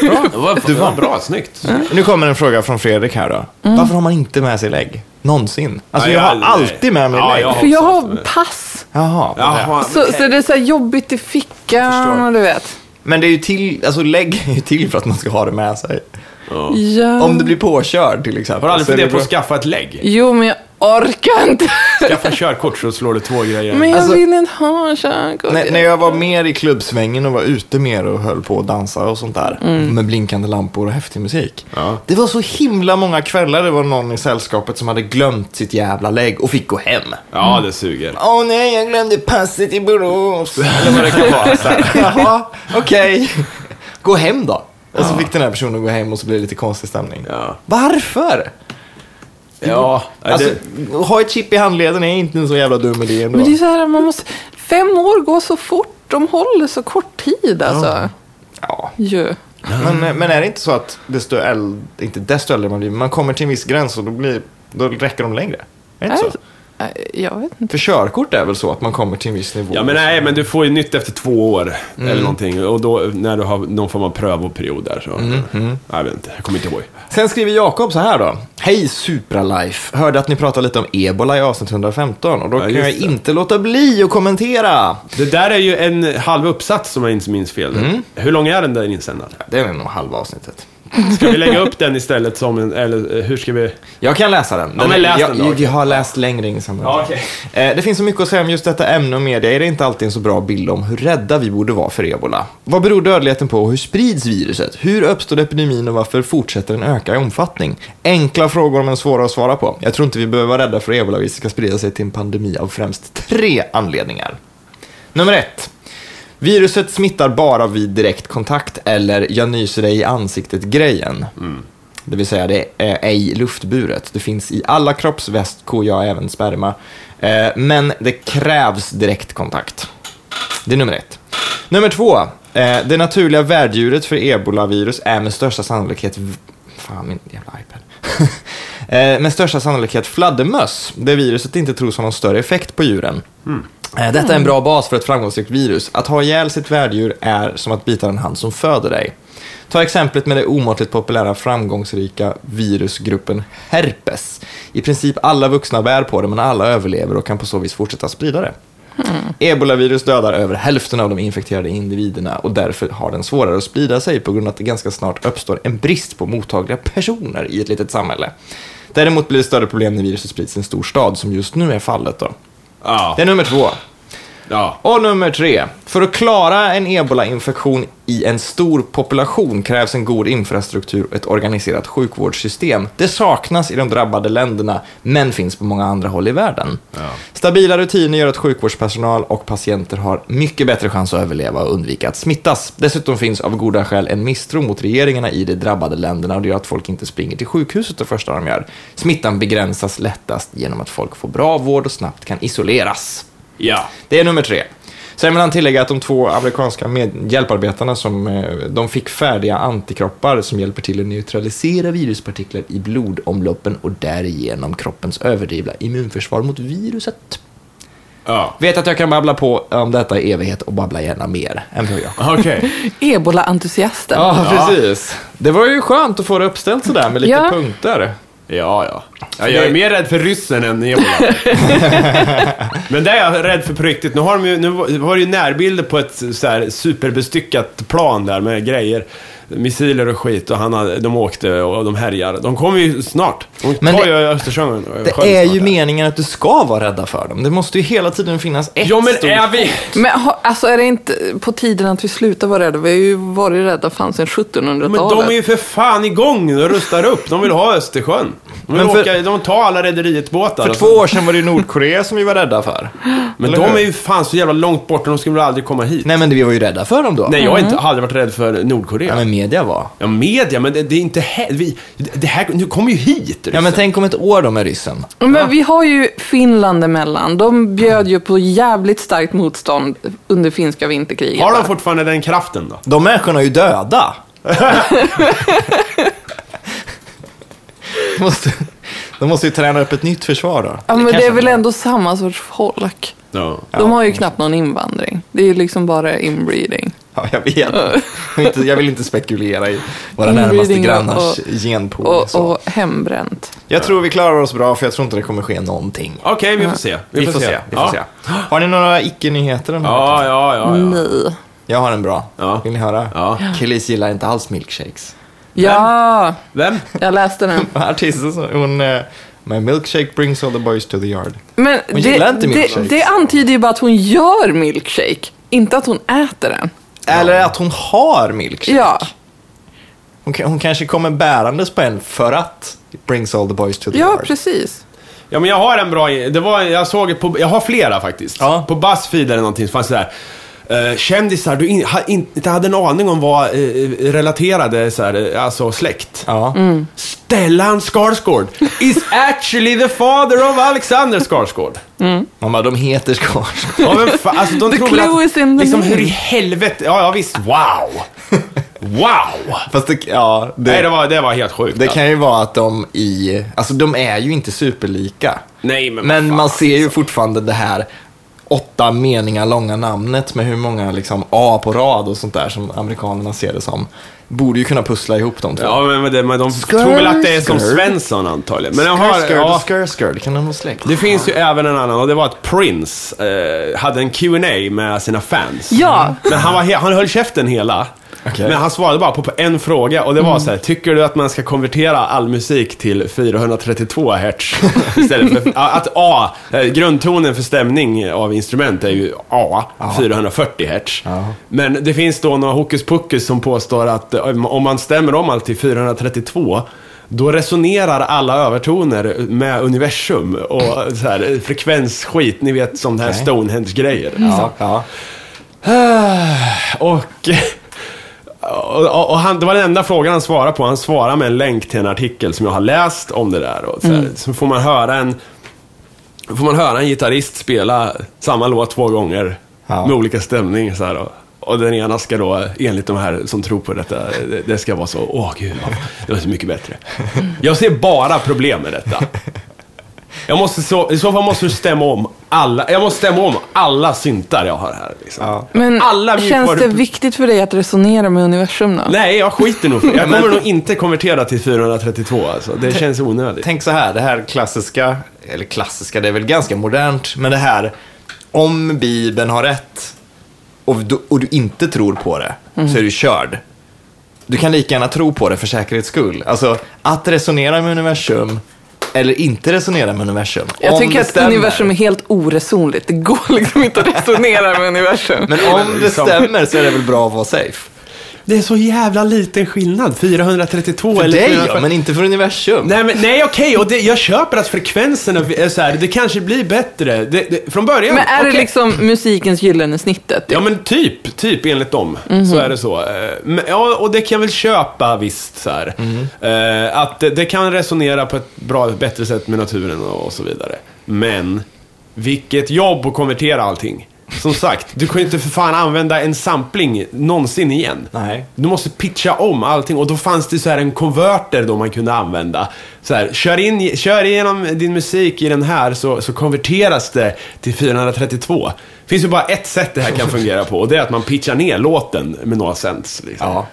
B: Bra. Det var, det var bra, snyggt.
A: Nu kommer en fråga från Fredrik här då. Varför har man inte med sig lägg? Någonsin? Alltså
B: Nej,
A: jag har
B: aldrig.
A: alltid med mig
B: Ja,
A: lägg.
B: jag har-
C: För jag har pass.
A: Jaha.
B: Jaha.
C: Så, så det är så här jobbigt i fickan
A: Förstår.
C: och du vet.
A: Men det är ju till, alltså lägg är ju till för att man ska ha det med sig.
C: Ja.
A: Om du blir påkörd till exempel.
B: Har du aldrig
A: så är
B: funderat
A: det
B: på att
A: bra.
B: skaffa ett lägg?
C: Jo, men jag orkar inte.
B: Skaffa körkort så slår du två grejer.
C: Men
A: Mm.
C: jag
A: Alltså-
C: vill inte ha en körkort.
A: När, när jag var mer i klubbsvängen och var ute mer och höll på och dansade och sånt där. Med blinkande lampor och häftig musik.
B: Ja.
A: Det var så himla många kvällar det var någon i sällskapet som hade glömt sitt jävla lägg och fick gå hem.
B: Ja, det suger.
A: Åh nej, jag glömde passet i [LAUGHS] Borås. Eller vad det kan vara. Så här, Jaha, okej. Gå hem då. Och så fick den här personen gå hem och så blev det lite konstig stämning.
B: Ja.
A: Varför?
B: Ja,
A: Alltså,
B: det,
A: ha ett chip i handleden är inte en så jävla dum idé ändå.
C: Men det är så här, man måste... Fem år går så fort. De håller så kort tid alltså.
A: Ja.
C: Ju.
A: Men, men är det inte så att desto äldre, inte desto äldre man blir, men man kommer till en viss gräns och då, blir, då räcker de längre? Är det
C: Är
A: inte
C: det
A: så?
C: så? Nej, eh, Jag vet inte.
A: För körkort är väl så att man kommer till en viss nivå?
B: ja, men nej, men du får ju nytt efter två år. Eller någonting. Och då, när du har någon form av prövoperiod där så... Jag vet inte, jag kommer inte ihåg.
A: Sen skriver Jakob så här då. Hej Supralife! Hörde att ni pratade lite om ebola i avsnitt 115 och då
B: Ja,
A: kan
B: just
A: jag
B: det.
A: inte låta bli att kommentera.
B: Det där är ju en halv uppsats om jag inte minns fel. Hur lång är den där insändaren?
A: Det är nog halva avsnittet.
B: Ska vi lägga upp den istället som en, eller eh, hur ska vi?
A: Jag kan läsa den.
B: men läs
A: jag,
B: den då.
A: jag, jag har läst längre insändare.
B: Ja, okej.
A: Eh, Det finns så mycket att säga om just detta ämne och media är det inte alltid en så bra bild om hur rädda vi borde vara för ebola. Vad beror dödligheten på och hur sprids viruset? Hur uppstod epidemin och varför fortsätter den öka i omfattning? Enkla frågor men svåra att svara på. Jag tror inte vi behöver vara rädda för att ebolaviruset ska sprida sig till en pandemi av främst tre anledningar. Nummer ett. Viruset smittar bara vid direkt kontakt eller jag nyser dig i ansiktet-grejen.
B: Mm.
A: Det vill säga, det är ej luftburet. Det finns i alla kroppsväst, koja, även sperma. Eh, Men det krävs direkt kontakt. Det är nummer ett. Nummer två. Eh, det naturliga värddjuret för ebolavirus är med största sannolikhet... Fan, min jävla iPad. [LAUGHS] eh, med största sannolikhet fladdermöss, där viruset inte tros ha någon större effekt på djuren. Eh, detta är en bra bas för ett framgångsrikt virus. Att ha ihjäl sitt värddjur är som att bita den hand som föder dig. Ta exemplet med det omåttligt populära framgångsrika virusgruppen herpes. I princip alla vuxna bär på det, men alla överlever och kan på så vis fortsätta sprida det. Ebolavirus dödar över hälften av de infekterade individerna och därför har den svårare att sprida sig på grund av att det ganska snart uppstår en brist på mottagliga personer i ett litet samhälle. Däremot blir det större problem när viruset sprids i en stor stad, som just nu är fallet. Då.
B: Ja.
A: Det är nummer två.
B: ja.
A: Och nummer tre. För att klara en ebola-infektion i en stor population krävs en god infrastruktur och ett organiserat sjukvårdssystem. Det saknas i de drabbade länderna, men finns på många andra håll i världen. Stabila rutiner gör att sjukvårdspersonal och patienter har mycket bättre chans att överleva och undvika att smittas. Dessutom finns av goda skäl en misstro mot regeringarna i de drabbade länderna och det gör att folk inte springer till sjukhuset det första de gör. Smittan begränsas lättast genom att folk får bra vård och snabbt kan isoleras.
B: Ja.
A: Det är nummer tre. Sen vill han tillägga att de två amerikanska med- hjälparbetarna som eh, de fick färdiga antikroppar som hjälper till att neutralisera viruspartiklar i blodomloppen och därigenom kroppens överdrivna immunförsvar mot viruset.
B: ja.
A: Vet att jag kan babbla på om detta i evighet och babbla gärna mer än vad jag.
B: Okej.
C: Ebola-entusiasten.
A: Ja, precis. Det var ju skönt att få det uppställt sådär med lite
C: Ja.
A: punkter.
B: Ja, ja. ja. Jag är mer rädd för ryssen än
A: [LAUGHS]
B: ebola. Men det är jag rädd för på riktigt. Nu har de ju, nu var det ju närbilder på ett så här superbestyckat plan där med grejer. Missiler och skit och han, hade- de åkte och de härjar. De kommer ju snart. De tar
A: Men
B: ju
A: det-
B: Östersjön. sjön
A: Det är
B: snart
A: ju
B: här.
A: meningen att du ska vara rädda för dem. Det måste ju hela tiden finnas ett
B: Ja, men
A: stort
B: är vi...
C: Men ha, alltså är det inte på tiden att vi slutar vara rädda? Vi har ju varit rädda fan sedan
B: Men de är
C: 1700-talet.
B: ju för fan igång nu och rustar upp. De vill ha Östersjön. De, vill
A: Men för-
B: åka, de tar alla rederiets båtar.
A: För
B: och
A: två år sedan var det ju Nordkorea som vi var rädda för.
B: Men
A: Eller
B: de
A: hur?
B: är ju fan så jävla långt borta, de skulle väl aldrig komma hit. Nej,
A: Nej men vi var ju rädda för dem då.
B: jag har inte, hade varit rädd för Nordkorea.
A: Mm. Ja men media var.
B: Ja, media, men det, det är inte här, vi, det här, nu kommer ju hit.
A: Ja men tänk om ett år då med ryssen.
C: Men vi har ju Finland emellan. De bjöd ju på jävligt starkt motstånd under finska vinterkriget.
B: Har de fortfarande den kraften då?
A: De människorna är ju döda. de, måste, de måste ju träna upp ett nytt försvar då.
C: Ja, men
A: kanske
C: det är väl
A: inte-
C: ändå samma sorts folk.
B: Ja.
C: De har ju knappt någon invandring. Det är ju liksom bara inbreeding.
A: Ja, jag vet. Jag vill inte, jag vill inte spekulera i våra närmaste
C: Inbreeding och-
A: grannars
C: och-
A: genpool.
C: Och,
A: Oh, så.
C: och hembränt.
A: Jag tror vi klarar oss bra för jag tror inte det kommer ske någonting.
B: Okej, vi får se.
A: Vi får se. Vi får
B: ja.
A: se. Har ni några icke-nyheter den här veckan?
B: Ja, ja, ja.
A: Mm.
B: ja.
C: Nej.
A: Jag har en bra.
B: Ja.
A: Vill ni höra?
B: Ja.
A: Killis gillar inte alls milkshakes.
C: Ja,
B: Vem?
C: jag läste den.
A: artisten som hon... eh, My milkshake brings all the boys to the yard.
C: Men
A: Hon
C: det,
A: gillar inte
C: det,
A: milkshakes.
C: det antyder ju bara att hon gör milkshake, inte att hon äter den.
A: Eller att hon har milkshake.
C: Ja,
A: Hon, ka- hon kanske kommer bärandes på en för att it brings all the boys to the
C: ja
A: yard.
C: precis.
B: Ja, men jag har en bra... Det var, jag såg ett på... Jag har flera faktiskt.
A: Ja.
B: På Buzzfeed eller någonting så fanns det där. eh, kändisar du in, ha, inte hade en aning om var eh, relaterade så här, eh, alltså släkt.
A: Ja.
C: Mm.
B: Stellan Skarsgård is actually the father of Alexander Skarsgård.
A: Man bara, de heter Skarsgård.
B: Ja, men fa- alltså, de
C: The
B: tror väl
C: clue
B: att,
C: is in the
B: liksom,
C: name.
B: hur i helvete, ja, ja visst, wow! Wow!
A: [LAUGHS] Fast det, ja, [LAUGHS] det,
B: Nej, det var, det var helt sjukt. alltså.
A: det kan ju vara att de i... Alltså de är ju inte superlika.
B: Nej, men vad
A: Men
B: fan, liksom.
A: man ser ju fortfarande det här åtta meningar långa namnet med hur många liksom A på rad och sånt där som amerikanerna ser det som. Borde ju kunna pussla ihop de två.
B: Ja, men, men, det, men de
A: Skör,
B: tror väl att det är som
A: skör.
B: Svensson antagligen. Men jag har,
A: Skarsgård
B: ja,
A: och Skarsgård, kan de vara släkt?
B: det finns ju även en annan och det var att Prince eh, hade en Q&A med sina fans.
C: Ja,
B: Men han, var he- han höll käften hela.
A: Okej.
B: Men han svarade bara på, på en fråga och det var så här: tycker du att man ska konvertera all musik till 432 hertz? Istället för, ja, att A, eh, grundtonen för stämning av instrument är ju A, 440 hertz.
A: Ja.
B: Men det finns då några hokus pokus som påstår att eh, om- om man stämmer om allt till 432 då resonerar alla övertoner med universum och så här, eh, frekvensskit, ni vet som det här
A: Okej.
B: Stonehenge-grejer.
A: ja, ja.
B: [SIGHS] Och, och, och han, det var den enda frågan han svarade på. Han svarade med en länk till en artikel som jag har läst om det där. Och så, här,
A: Mm.
B: så får man höra en får man höra en gitarrist spela samma låt två gånger
A: Ja.
B: med olika stämning. Så här, och, och den ena ska då, enligt de här som tror på detta, det, det ska vara så, åh gud, vad- det var så mycket bättre. Jag ser bara problem med detta. Jag måste så, I så fall måste du stämma om alla, jag måste stämma om alla syntar jag har här. Liksom.
A: Ja.
C: Men
B: Alla
C: känns det
B: mjukvaru-
C: viktigt för dig att resonera med universum då?
B: Nej, jag skiter nog för det. Jag kommer nog inte konvertera till 432 alltså. Det känns onödigt.
A: Tänk så här, det här klassiska, eller klassiska, det är väl ganska modernt, men det här om Bibeln har rätt och du, och du inte tror på det, så är du körd. Du kan lika gärna tro på det för säkerhets skull. Alltså, att resonera med universum eller inte resonera med universum.
C: Jag
A: om
C: tycker
A: det
C: att
A: stämmer.
C: universum är helt oresonligt. Det går [LAUGHS] liksom inte att resonera med universum.
A: Men om det
C: liksom-
A: stämmer så är det väl bra att vara safe.
B: Det är så jävla liten skillnad, 432
A: För
B: eller
A: dig,
B: 440.
A: ja, men inte för universum.
B: Nej, men, nej okej, och det, jag köper att frekvenserna är så här, det kanske blir bättre. Det, det, från början,
C: Men är det
B: okej.
C: liksom musikens gyllene snittet?
B: Ja men typ, typ enligt dem så är det så. Eh, Men, ja, och det kan jag väl köpa visst så här. Eh, Att det, det kan resonera på ett bra, bättre sätt med naturen och, och så vidare. Men, vilket jobb att konvertera allting. Som sagt, du kan ju inte för fan använda en sampling någonsin igen.
A: Nej.
B: Du måste pitcha om allting och då fanns det så här en konverter då man kunde använda. Så här, kör, in, kör igenom din musik i den här så, så konverteras det till 432. Det finns ju bara ett sätt det här kan fungera på och det är att man pitchar ner låten med några cents. Liksom.
A: Ja.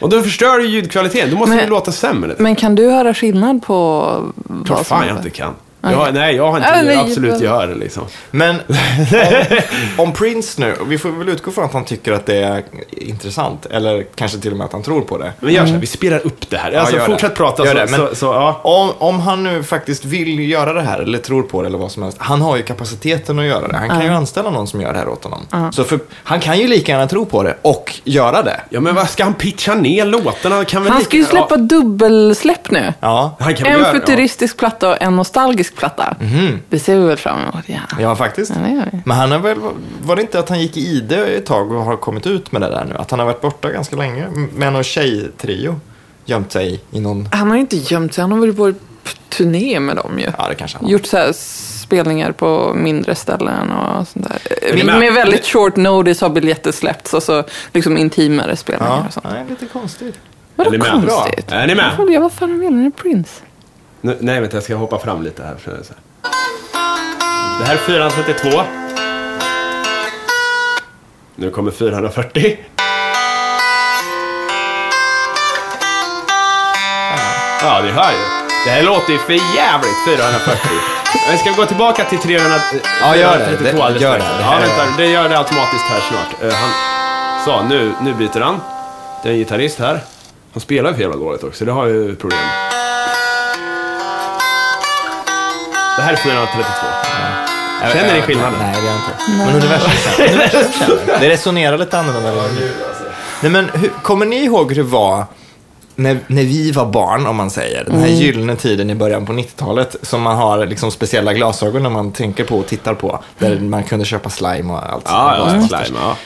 B: Och då förstör du ljudkvaliteten, då måste
C: Men-
B: det låta sämre.
C: Men kan du höra skillnad på vad
B: Klart fan jag inte kan. Jag, har- nej, jag har inte
C: Ja, nej,
B: absolut
C: jag-
B: gehör liksom.
A: [LAUGHS] Men om, om Prince nu, och vi får väl utgå från att han tycker att det är intressant, eller kanske till och med att han tror på det.
B: Men gör så här, vi spelar upp det här. Alltså,
A: gör det.
B: fortsätt prata
A: Gör
B: så,
A: det, men-
B: så, så, ja.
A: Om, om han nu faktiskt vill göra det här, eller tror på det, eller vad som helst, han har ju kapaciteten att göra det. Han kan ju anställa någon som gör det här åt honom. Så för, han kan ju lika gärna tro på det och göra det.
B: Ja men vad ska han pitcha ner låtarna? Kan väl
C: Han
B: lika-
C: ska ju släppa
B: Ja,
C: dubbelsläpp nu.
A: Ja,
B: han kan väl
C: En
B: göra- Mhm. ja.
C: futuristisk platta och en nostalgisk platta. Det ser vi väl fram emot. Ja.
A: ja faktiskt.
C: Ja, det gör vi.
A: Men han har väl, var det inte att han gick i ID ett tag och har kommit ut med det där nu? Att han har varit borta ganska länge med någon tjejtrio. Gömt sig i någon,
C: Han har ju inte gömt sig. Han har varit på turné med dem ju.
A: ja det kanske han har.
C: Gjort så här spelningar på mindre ställen och sånt där.
B: Men-
C: Med, väldigt short notice har biljetter släppts och så liksom intimare spelningar
A: Ja,
C: och sånt.
A: nej, lite konstigt.
B: Är ni
C: Vadå
B: med?
C: konstigt?
B: Bra. Är ni med?
C: Jag får leva vad fan de vill. Han är Prince.
B: Nu, nej, vänta, jag ska hoppa fram lite här. Så här. Det här är 432. Nu kommer 440. Ja, ni hör ju. Det här låter ju för jävligt 440. Men ska vi gå tillbaka till 300,
A: Ja, gör det.
B: 432 alldeles
A: Det- gör
B: strax?
A: det.
B: Ja, vänta. Det gör det automatiskt här snart. Eh, han, så, nu, nu byter han. Det är en gitarrist här. Han spelar ju för jävla dåligt också, det har ju problem. Det här är 432. Känner ni skillnaden?
A: Äh, Nej, det gör jag inte. Men universum känner- universum känner. Det resonerar lite annorlunda. än vad vi-
B: alltså.
A: Nej, men hur, kommer ni ihåg hur det var när, när vi var barn, om man säger? Den här gyllene tiden i början på 90-talet som man har liksom speciella glasögon när man tänker på och tittar på. Där man kunde köpa slime och allt.
B: Ja,
A: sånt.
B: ja, ja, slime, ja.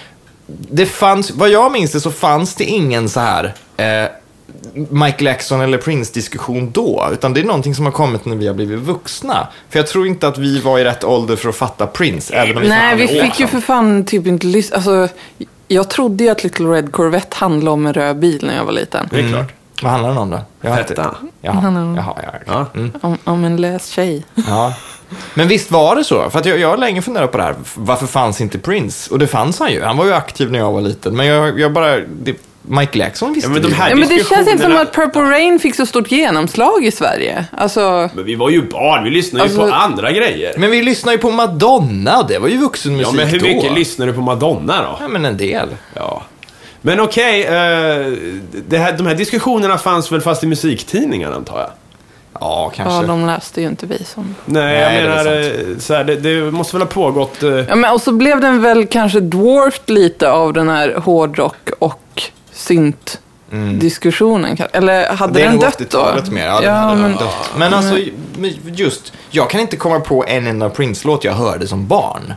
A: Det fanns, vad jag minns det så fanns det ingen så här eh, Michael Jackson eller Prince-diskussion då, utan det är någonting som har kommit när vi har blivit vuxna. För jag tror inte att vi var i rätt ålder för att fatta Prince, även om vi
C: Nej,
A: fan
C: vi
A: är år
C: fick ju
A: sedan.
C: för fan typ inte lyssna. Alltså, jag trodde ju att Little Red Corvette handlade om en röd bil när jag var liten.
B: Det är klart.
A: Vad handlar den om då? Jag har inte-
B: Fetta.
A: Jaha,
C: handlar om-
A: jaha, ja, okej.
B: Ja.
C: Om, om en lös tjej.
A: Mm. ja. Men visst var det så? För att jag, jag har länge funderat på det här. Varför fanns inte Prince? Och det fanns han ju. Han var ju aktiv när jag var liten. Men jag, jag bara... Det, Michael Jackson visste
B: Ja, men de
A: vi ju.
B: här-
C: Ja, men det känns inte som
B: diskussionerna-
C: att Purple Rain fick så stort genomslag i Sverige. Alltså,
B: Men vi var ju barn, vi lyssnade ju
C: Alltså-
B: på andra grejer.
A: Men vi lyssnade ju på Madonna. Det var ju vuxenmusik
B: Ja, men hur mycket
A: då.
B: lyssnade du på Madonna då?
A: Ja, men en del.
B: Ja. Men okej, eh, det här, de här diskussionerna fanns väl fast i musiktidningar antar jag?
A: Ja, kanske.
C: ja, de läste ju inte vi som...
B: Nej,
A: Nej,
B: jag
A: det är
B: menar, det, så här, det, det måste väl ha pågått... eh,
C: Ja, men, och så blev den väl kanske dwarfed lite av den här hårdrock och synt diskussionen. Eller hade
A: Mm. Det är
C: den
A: nog
C: dött då?
A: 80-talet mer. Ja, den
C: Ja,
A: hade
C: men,
A: dött. Men alltså, men just, jag kan inte komma på en enda Prince-låt jag hörde som barn.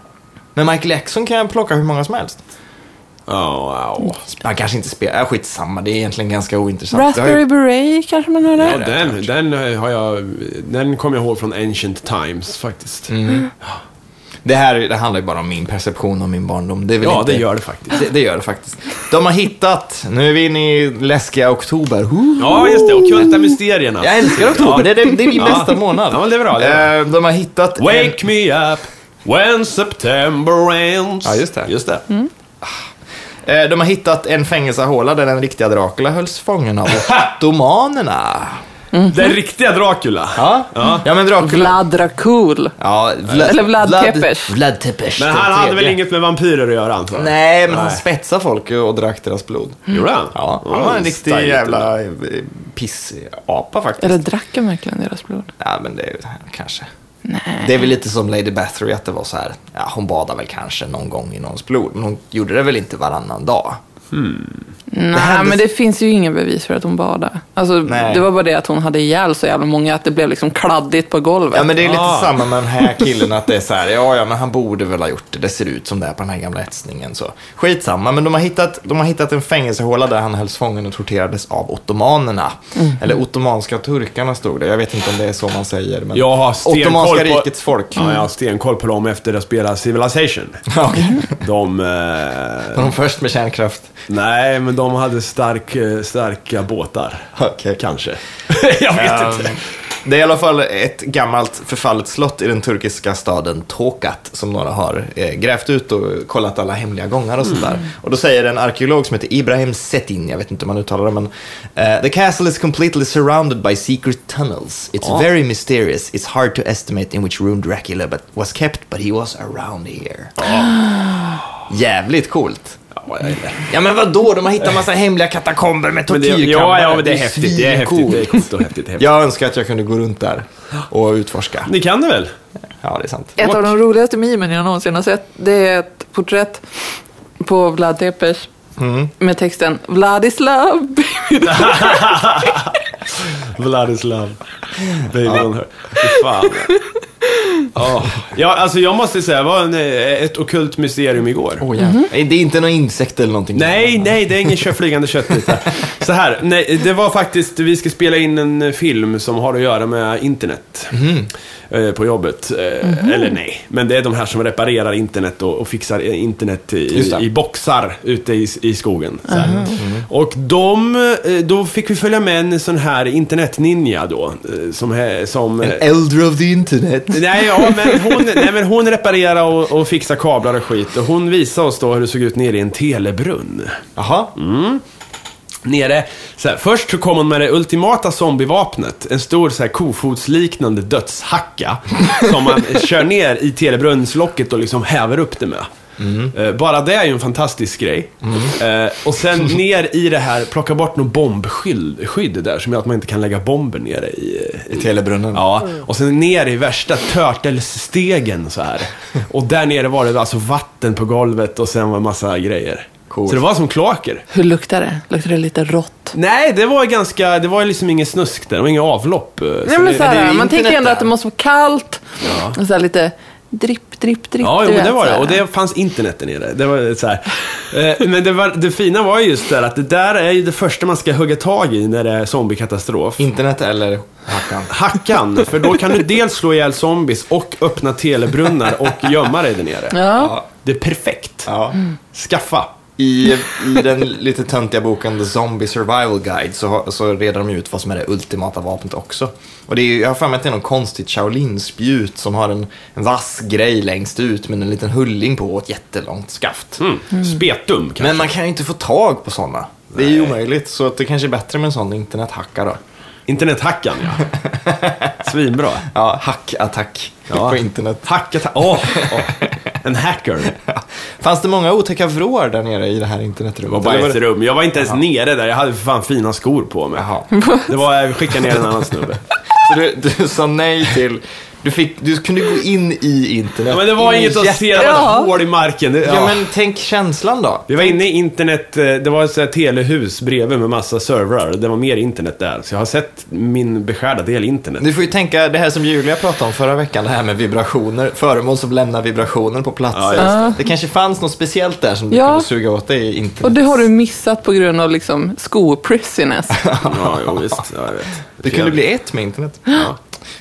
A: Men Michael Jackson kan jag plocka hur många som helst.
B: Ja, wow.
A: Han kanske inte spelar, ja, skitsamma, det är egentligen ganska ointressant. Det har
C: Raspberry
A: ju-
C: Beret kanske man hörde?
B: Ja, den, den, eh, har jag, den kommer jag ihåg från Ancient Times faktiskt.
A: Det här det handlar ju bara om min perception och min barndom. Det är väl
B: Ja,
A: inte,
B: det gör det faktiskt.
A: det, det gör det faktiskt. De har hittat, nu är vi inne i läskiga oktober. Woo!
B: Ja, just det. Ockulta mysterierna.
A: Jag älskar oktober, det, är- det är min
B: Ja.
A: bästa månad.
B: Ja, men det är bra, det är
A: Eh, De har hittat... en-
B: Wake me up when September ends.
A: Ja, just det.
B: Just det.
A: Eh, De har hittat en fängelsehåla där den riktiga Dracula hölls
B: [LAUGHS]
A: fången av ottomanerna.
B: Den Mm. riktiga Dracula.
A: Ja, ja men Dracula...
C: Vlad Dracul.
A: Ja, Vla-
C: Eller Vlad Tepes.
A: Vlad Tepes.
B: Men
A: den
B: han hade väl
A: tredje.
B: inget med vampyrer att göra antar jag?
A: Nej, men han
B: Nej.
A: spetsade folk och drack deras blod.
C: Mm.
B: Gjorde han?
A: Ja, han
B: det typ.
A: var en riktig
B: styligt.
A: jävla eh, pissapa faktiskt.
C: Eller drack han verkligen deras blod?
A: Ja, men det är kanske. Det är väl lite som Lady Bathory, att det var så här, ja, hon badade väl kanske någon gång i någons blod, men hon gjorde det väl inte varannan dag?
B: Hmm.
C: Nej, men det finns ju inga bevis för att hon badade. Alltså,
A: Nej.
C: det var bara det att hon hade ihjäl så jävla många att det blev liksom kladdigt på golvet.
A: Ja, men det är lite
B: Ah.
A: samma med den här killen, att det är så här, ja, ja, men han borde väl ha gjort det, det ser ut som det är på den här gamla etsningen. Så. Skitsamma, men de har, hittat, de har hittat en fängelsehåla där han hölls fången och torterades av ottomanerna. Eller ottomanska turkarna stod det, jag vet inte om det är så man säger. Men
B: Jag har stenkoll
A: ottomanska
B: på- [LAUGHS]
A: rikets folk. [LAUGHS]
B: Ja, jag har stenkoll på dem efter att spela Civilization.
A: Okej.
B: De... Eh,
A: Var de först med kärnkraft?
B: nej, men de hade stark, eh, starka båtar.
A: Okej.
B: Kanske. jag vet
A: Ehm,
B: inte.
A: Det är i alla fall ett gammalt förfallet slott i den turkiska staden Tokat som några har eh, grävt ut och kollat alla hemliga gångar och sådär.
B: Mm.
A: Och då säger en arkeolog som heter Ibrahim Setin, jag vet inte hur man uttalar det, men eh, “The castle is completely surrounded by secret tunnels. It's very mysterious. It's hard to estimate in which room Dracula but was kept, but he was around here.” [GASPS] Jävligt coolt.
B: Ja, jag vet inte.
A: Ja men vadå, de har hittat massa hemliga katakomber med
B: Men det,
A: tortyrkammare.
B: ja, ja, men det är häftigt. Det är häftigt.
A: svincoolt.
B: Det är coolt och häftigt. Det, är häftigt.
A: Jag önskar att jag kunde gå runt där och utforska.
B: det kan du väl?
A: Ja, det är sant.
C: Ett av de roligaste mimen jag någonsin har sett, det är ett porträtt på Vlad Tepes
B: Mm.
C: med texten Vladislav.
B: Vladislav. Baby on her. Fy fan. Åh. Ja, alltså jag måste säga, det var en, eh, ett okult mysterium igår.
A: Åh, jävlar. Oh, Nej, Det är inte någon insekt eller någonting?
B: Nej, nej, det är ingen kö- flygande köttbit Så här, nej, det var faktiskt, vi ska spela in en eh, film som har att göra med internet.
A: Mhm.
B: Eh, På jobbet. Eh, Eller nej, men det är de här som reparerar internet och, och fixar eh, internet
A: Just
B: i,
A: det. Mhm.
B: i boxar ute i, i skogen. Så här. Och de, eh, då fick vi följa med en sån här internetninja då. eh, Som, he- som
A: En
B: eh,
A: äldre of the internet.
B: Nej, ja, men hon, nej, men hon reparerar och, och fixar kablar och skit. Och hon visade oss då hur det såg ut nere i en telebrunn.
A: Jaha.
B: Nere, så här, först så kom hon med det ultimata zombievapnet. En stor så här, kofotsliknande dödshacka. som man kör ner i telebrunnslocket och liksom häver upp det med. Eh, Bara det är ju en fantastisk grej. Eh, och sen ner i det här, plocka bort någon bombskydd skydd där som gör att man inte kan lägga bomber nere i,
A: I telebrunnen.
B: Ja, och sen ner i värsta turtlesstegen så här. Och där nere var det alltså vatten på golvet och sen var det massa grejer.
A: Coolt.
B: Så det var som kloaker.
C: [LAUGHS] Hur luktar det? Luktar det lite rått?
B: Nej, det var ganska, det var liksom ingen snusk där, det var inga avlopp. eh, så
C: Nej, men
B: det-
C: så
A: det är
C: här,
A: ju
C: man tänker
A: internet
C: ändå
A: där.
C: att det måste vara kallt. Och så här, lite dripp, dripp, dripp.
B: Ja,
C: du
B: jo, men
C: vet,
B: det var
C: så
B: det.
C: här.
B: Och det fanns internet där nere. Det var så här. Eh, Men det, var, det fina var ju just där att det där är ju det första man ska hugga tag i när det är zombiekatastrof.
A: Internet eller hackan.
B: Hackan, för då kan du dels slå ihjäl zombies och öppna telebrunnar och gömma dig där nere.
C: Ja.
B: Det är perfekt.
A: Ja.
B: Skaffa.
A: I, I den lite töntiga boken The Zombie Survival Guide så, har- så reder de ut vad som är det ultimata vapnet också. Och det är, ju- jag har för mig att det är någon konstigt Shaolin-spjut som har en, en vass grej längst ut med en liten hulling på och ett jättelångt skaft.
B: Mm.
C: Mm.
B: Spetum kanske.
A: Men man kan ju inte få tag på sådana. Det är ju omöjligt, så att det kanske är bättre med en sån internethacka då.
B: Internethackan
C: [LAUGHS]
B: ja. Svinbra.
A: Ja, hackattack
B: Ja.
A: på internet.
B: Hackat... Åh! åh. En hacker. Det
A: Fanns det många otäcka vrår där nere i det här internetrummet?
B: var bara
A: Eller
B: ett rum. Jag var inte ens nere där. Jag hade för fan fina skor på mig.
A: [LAUGHS] Jaha.
B: Det var, jag skickade ner en annan snubbe.
A: Så du, du sa nej till Du, fick, du kunde gå in i
B: [LAUGHS]
A: internet.
B: Ja, men det var
A: In i
B: inget att se, det var
C: Ja.
B: ett hål i marken. Det, ja.
A: Ja, men tänk känslan då.
B: Vi var inne i internet, eh, det var ett sånt här telehus bredvid med massa servrar. Det var mer internet där. Så jag har sett min beskärda del internet.
A: Du får ju tänka det här som Julia pratade om förra veckan, det här med vibrationer, föremål som lämnar vibrationer på
B: Ja,
A: platser.
B: just
A: det. kanske fanns något speciellt där som du
C: Ja.
A: kunde suga åt dig i internet.
C: Och det har du missat på grund av liksom
B: [LAUGHS]
C: skopressiness.
B: Ja, jo, visst. Ja, jag vet.
A: Det kunde bli ett
B: [GASPS]
A: med internet.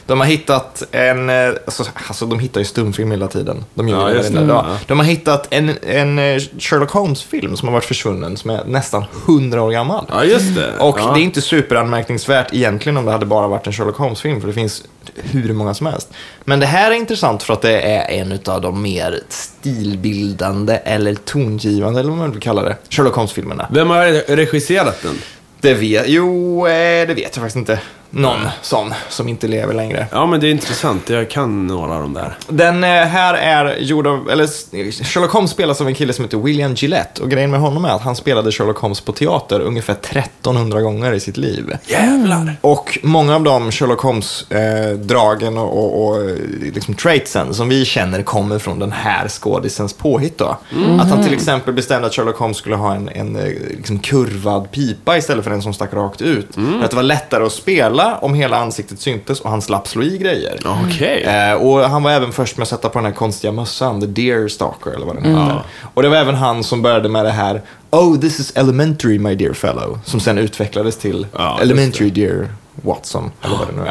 A: De har hittat en, eh, alltså, alltså de hittar ju stumfilm hela tiden. De gör
B: Ja,
A: ju det
B: just
A: varenda
B: det.
A: dag.
B: Ja.
A: De har hittat en, en eh, Sherlock Holmes-film som har varit försvunnen, som är nästan 100 år gammal.
B: Ja, just det.
A: Och
B: ja.
A: det är inte superanmärkningsvärt egentligen om det hade bara varit en Sherlock Holmes-film, för det finns hur många som helst. Men det här är intressant för att det är en av de mer stilbildande eller tongivande, eller vad man vill kalla det, Sherlock Holmes-filmerna.
B: Vem har regisserat den?
A: Det vet, jo, eh, det vet jag faktiskt inte. Någon sån som inte lever längre.
B: Ja, men det är intressant. Jag kan några av dem där.
A: Den eh, här är gjord av, eller s- Sherlock Holmes spelas av en kille som heter William Gillette. Och grejen med honom är att han spelade Sherlock Holmes på teater ungefär 1300 gånger i sitt liv.
B: Jävlar!
A: Och många av de Sherlock Holmes-dragen och, och, och eh, liksom traitsen som vi känner kommer från den här skådisens påhitt. Då. Att han till exempel bestämde att Sherlock Holmes skulle ha en, en eh, liksom kurvad pipa istället för en som stack rakt ut. För att det var lättare att spela om hela ansiktet syntes och han slapp slå i grejer.
B: Okej.
A: Eh, och han var även först med att sätta på den här konstiga mössan, The Deer Stalker eller vad den heter. Och det var även han som började med det här Oh, this is elementary my dear fellow. Som sen utvecklades till
B: Ja, just
A: Elementary Dear Watson, eller vad det nu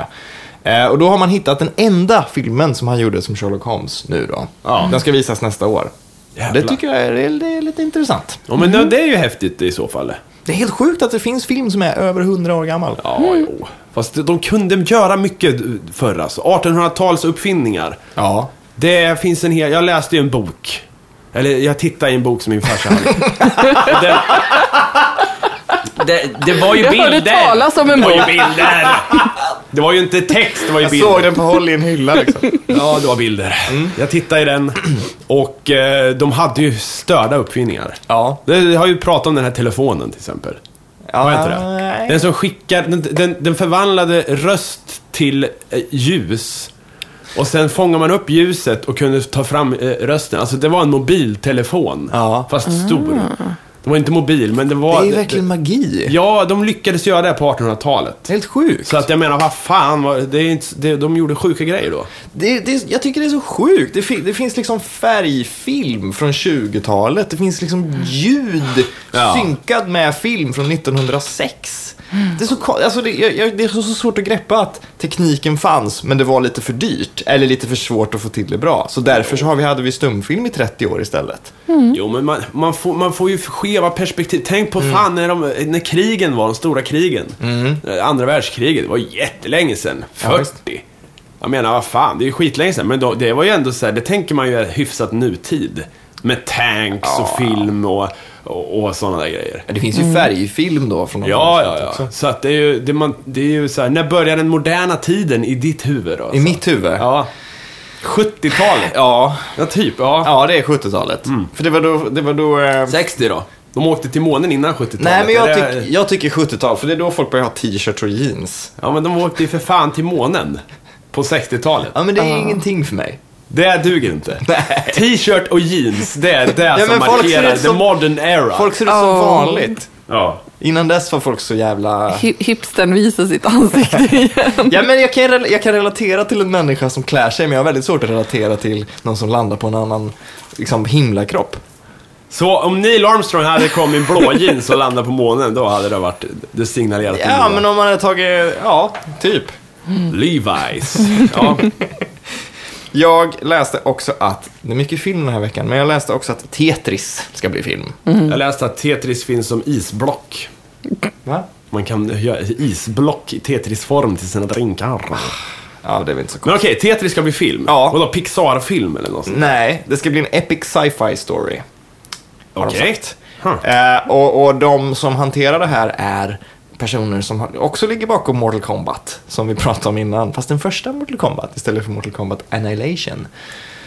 A: är. Eh, och då har man hittat den enda filmen som han gjorde som Sherlock Holmes nu då.
B: Ja.
A: Den ska visas nästa år.
B: Jävlar.
A: Det tycker jag är, det är lite intressant.
B: Ja, men det är ju häftigt i så fall.
A: Det är helt sjukt att det finns film som är över 100 år gammal.
B: Ja, jo. Fast de kunde göra mycket förr alltså. 1800-tals uppfinningar.
A: Ja.
B: Det finns en hel... Jag läste ju en bok. Eller jag tittade i en bok som min farsa hade. [LAUGHS] Och den- det, det var ju
C: Jag
B: bilder.
C: hörde talas om en
B: Det var ju
C: bok.
B: bilder. Det var ju inte text, det var ju
A: Jag
B: bilder.
A: såg den på håll i en hylla liksom.
B: Ja, det var bilder.
A: Mm.
B: Jag tittade i den och eh, de hade ju störda uppfinningar.
A: Ja.
B: Det har ju pratat om den här telefonen till exempel.
A: Ja,
B: Vad heter det?
A: nej.
B: Den som skickar, den, den, den förvandlade röst till eh, ljus. Och sen fångade man upp ljuset och kunde ta fram eh, rösten. Alltså det var en mobiltelefon.
A: Ja.
B: Fast stor. Det var inte mobil, men det
A: [LAUGHS] Det
B: var...
A: är ju verkligen magi.
B: Ja, de lyckades göra det här på 1800-talet.
A: Helt sjukt.
B: Så att jag menar, vad fan, vad, det är inte, det, de gjorde sjuka grejer då.
A: Det, det, jag tycker det är så sjukt. Det, fi, det finns liksom färgfilm från 20-talet. Det finns liksom ljud
B: Ja.
A: synkad med film från 1906. Det är, så, ko- alltså det, jag, jag, det är så, så svårt att greppa att tekniken fanns, men det var lite för dyrt. Eller lite för svårt att få till det bra. Så därför så har vi, hade vi stumfilm i 30 år istället.
B: Jo, men man, man, får, man får ju skeva perspektiv. Tänk
A: Mm.
B: på fan när, de, när krigen var, de stora krigen. Eh, Andra världskriget, det var jättelänge sedan.
A: Ja, visst.
B: 40. jag menar, vad fan, det är ju skitlänge sedan. Men då, det var ju ändå så här, det tänker man ju är hyfsat nutid. Med tanks och film och, och, och sådana där grejer.
A: Det finns ju färgfilm då från
B: Ja, ja, ja. Så att det är ju, det man, det är ju så här, när börjar den moderna tiden i ditt huvud då?
A: I
B: alltså?
A: mitt huvud.
B: Ja. 70-talet?
A: ja.
B: Ja, typ. Ja.
A: Ja, det är 70-talet. För det var då... Det var då eh,
B: 60 då? De åkte till månen innan 70-talet.
A: Nej, men jag,
B: Är det-
A: tyck, jag tycker 70-tal, för det är då folk börjar ha t-shirts och jeans.
B: Ja, men de åkte ju för fan till månen på 60-talet.
A: Ja, men det är ingenting för mig.
B: Det duger inte.
A: [LAUGHS] Nej.
B: T-shirt och jeans, det är det som
A: men folk ser
B: markerar
A: ut
B: the
A: som-
B: modern era.
A: Folk ser ut som
B: Ah.
C: Ja.
A: vanligt.
B: Ja.
A: Innan dess var folk så jävla...
C: Hi- Hipstern visar
B: [LAUGHS]
C: sitt ansikte igen.
A: Ja, men jag kan, rel- jag kan relatera till en människa som klär sig, men jag har väldigt svårt att relatera till någon som landar på en annan liksom, himlakropp.
B: Så om Neil Armstrong hade kommit i blå jeans och landat på månen, då hade det varit, det signalerat
A: Ja,
B: till
A: men om man hade tagit... Ja, typ.
B: Levi's. Ja.
A: [LAUGHS] Jag läste också att... Det är mycket film den här veckan, men jag läste också att Tetris ska bli film.
B: Jag läste att Tetris finns som isblock.
A: Va?
B: Man kan göra isblock i Tetris-form till sina drinkar.
A: Ja, det är väl inte så
B: Men okej, Tetris ska bli film.
A: Ja.
B: Vadå, Pixar-film eller något sånt?
A: Nej, det ska bli en epic sci-fi story. har de
B: Okej.
A: sagt.
B: Huh.
A: Eh, och, och de som hanterar det här är personer som har- också ligger bakom Mortal Kombat, som vi pratade om innan, fast den första Mortal Kombat istället för Mortal Kombat Annihilation.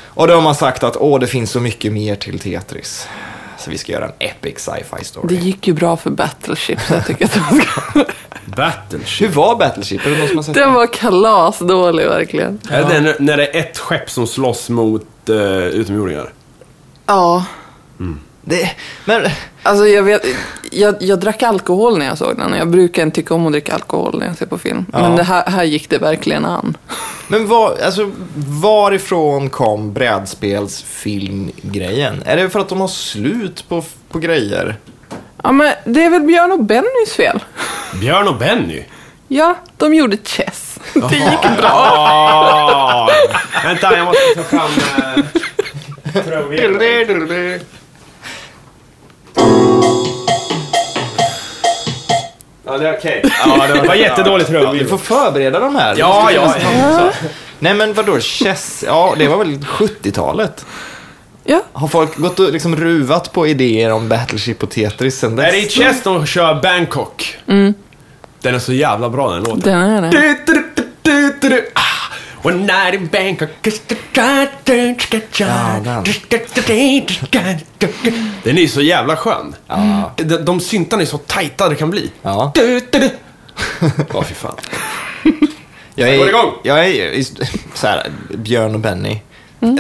A: Och de har sagt att åh, det finns så mycket mer till Tetris. Så vi ska göra en epic sci-fi
C: Det
A: story.
C: gick ju bra för Battleship, så jag tycker att de [LAUGHS] ska...
B: Battleship.
A: Hur var Battleship? Är det någon som har sett
C: Den var kalasdålig verkligen.
B: Är Eh, det den när det är ett skepp som slåss mot eh, utomjordingar?
C: Ja,
A: det? Men,
C: alltså jag vet... Jag, jag drack alkohol när jag såg den och jag brukar inte tycka om att dricka alkohol när jag ser på film. Men det här, här gick det verkligen an.
A: men var, alltså, varifrån kom brädspelsfilmgrejen? Är det för att de har slut på, på grejer?
C: Ja, men det är väl Björn och Bennys fel?
B: Björn och Benny?
C: Ja, de gjorde Chess. [LAUGHS] Det gick bra.
B: Ah, vänta, jag måste ta fram eh, trumvirveln. Ja, det är okej. Ja, det var jättedålig
A: Vi får
B: trumvirvel.
A: förbereda de här.
B: Ja,
A: Vi ska-
B: ja, ja.
A: Nej men vadå, chess? Ja, det var väl 70-talet?
C: Ja.
A: Har folk gått och liksom ruvat på idéer om Battleship och Tetris sen dess?
B: Är det i Chess de kör Bangkok? Den är så jävla bra den låten.
C: Den är det.
B: Du, du, du, du, du, du. Ah, One night in Bangkok. Den är ju så jävla skön. De, de syntarna är så tajta det kan bli.
A: Ja.
B: Du, du, du. [LAUGHS] Åh, fy fan.
A: Jag
B: går igång.
A: Jag är just- [LAUGHS] så här, Björn och Benny.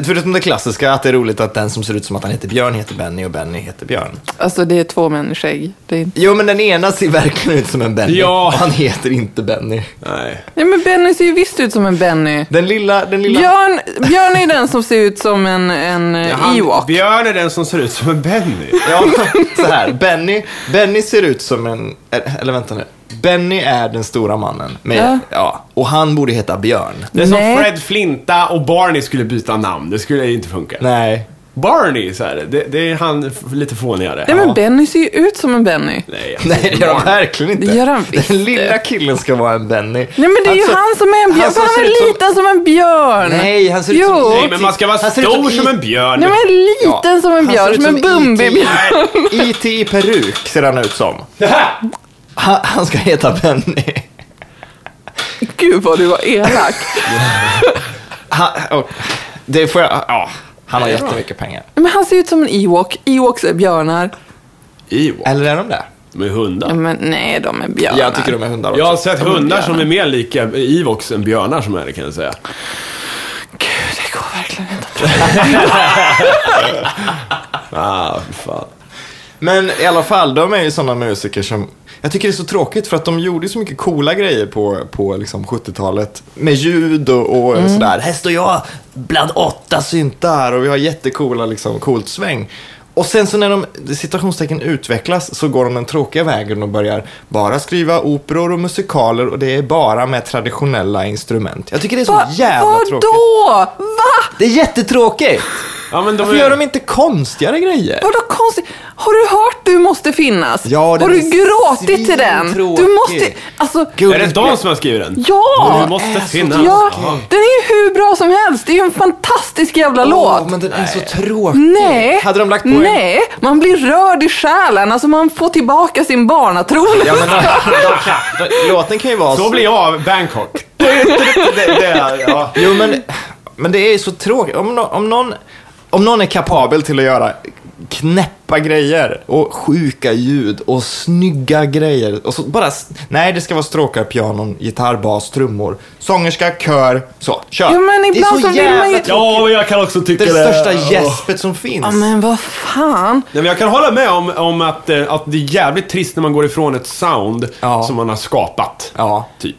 A: Förutom det klassiska, att det är roligt att den som ser ut som att han heter Björn heter Benny och Benny heter Björn.
C: Alltså det är två människor. Det är inte...
A: Jo, men den ena ser verkligen ut som en Benny.
B: Ja.
A: Och han heter inte Benny.
B: Nej.
C: Nej, men Benny ser ju visst ut som en Benny.
A: Den lilla, den lilla...
C: Björn, Björn är den som ser ut som en, en eh,
B: Han-
C: Ewok.
B: Björn är den som ser ut som en Benny.
A: Ja, [LAUGHS] så här. Benny, Benny ser ut som en... eh, Eller vänta nu. Benny är den stora mannen. Med,
C: Ja.
A: ja. och han borde heta Björn.
B: Det är som
C: Nej.
B: Fred Flinta och Barney skulle byta namn. Det skulle ju inte funka.
A: Nej. [LAUGHS]
B: Barney, så här, det, det är han f- lite fånigare.
C: Nej, men Benny ser ju ut som en Benny.
B: Nej, alltså,
A: Nej, det gör han
B: Barney.
A: verkligen inte.
C: Det gör han visst
A: Den lilla
C: det.
A: killen ska vara en Benny.
C: Nej, men det är ju
A: Alltså,
C: han som är en
A: han
C: björn. Han,
A: som
C: han
A: ser ut
C: är
A: som-
C: liten som en björn.
A: Nej, han ser ut
C: jo.
A: som-
B: Nej, men man ska vara
A: Han ser ut
B: stor
A: som
B: som
A: i-
B: en björn.
C: Nej, men
A: Ja,
C: liten som en
A: han ser
C: björn.
A: ut E
C: Som
A: [LAUGHS]
C: en Bumbibjörn.
A: IT IT E i peruk ser han ut som. Han, han ska heta Benny.
C: Gud vad du var elak.
A: Han, och, det får jag... Ja, han har jättemycket pengar.
C: men han ser ut som en Ewok. Ewoks är björnar.
B: [LAUGHS] Ewok.
A: Eller är de det?
B: Med
C: Ja,
B: hundar.
C: Men nej, de är björnar.
A: Jag tycker de är hundar också.
B: Jag har sett
C: Ja, men
B: hundar
C: björnar.
B: som är mer lika Evox än björnar som är det kan jag säga.
C: Gud, det går verkligen inte.
B: Ah, fy fan.
A: Men i alla fall, de är ju sådana musiker som... Jag tycker det är så tråkigt för att de gjorde så mycket coola grejer på, på liksom 70-talet. Med ljud och, och sådär. Här står jag bland åtta syntar och vi har jättecoola liksom, coolt sväng. Och sen så när de, citationstecken utvecklas, så går de den tråkiga vägen och börjar bara skriva operor och musikaler och det är bara med traditionella instrument. Jag tycker det är så
C: Va,
A: jävla tråkigt.
C: vadå? Va?
A: Det är jättetråkigt!
B: Ja, men de
A: Varför
B: är-
A: gör de inte konstigare grejer?
C: Vadå konstigt? Har du hört Du måste finnas?
A: Ja, den
C: har du
A: är
C: gråtit till den?
A: svintråkig.
C: Du måste... Alltså...
A: Gud,
B: Är det de som har skrivit den?
C: Ja! Äh,
B: Du måste
A: är så
B: finnas.
C: Ja,
B: Jaha.
C: den är ju hur bra som helst. Det är ju en fantastisk jävla
A: Åh,
C: låt.
A: men den är så tråkig.
C: Nej,
A: Eh, Hade de lagt på en...
C: nej, man blir rörd i själen. Alltså man får tillbaka sin barnatro.
A: Ja, men, de,
C: [LAUGHS]
A: de kan, de, låten kan ju vara...
B: Så blir jag av Bangkok.
A: det, det är, ja. Jo, men, men det är ju så tråkigt. Om, nå- om, någon, om någon är kapabel till att göra knäppa grejer och sjuka ljud och snygga grejer. Och så bara, s- nej, det ska vara stråkar, pianon, gitarr, bas, trummor, sångerska, kör, så, kör.
C: Ja, men ibland
A: det är
C: så
A: så
C: vill man ju-
A: jävla tråkigt.
B: Ja, jag kan också tycka
A: Det är
B: det.
A: det största
B: Åh.
A: gäspet som finns.
C: Ja, men vad fan.
B: Nej, men jag kan hålla med om, om att, eh, att det är jävligt trist när man går ifrån ett sound
A: Ja.
B: som man har skapat.
A: Ja.
B: Typ.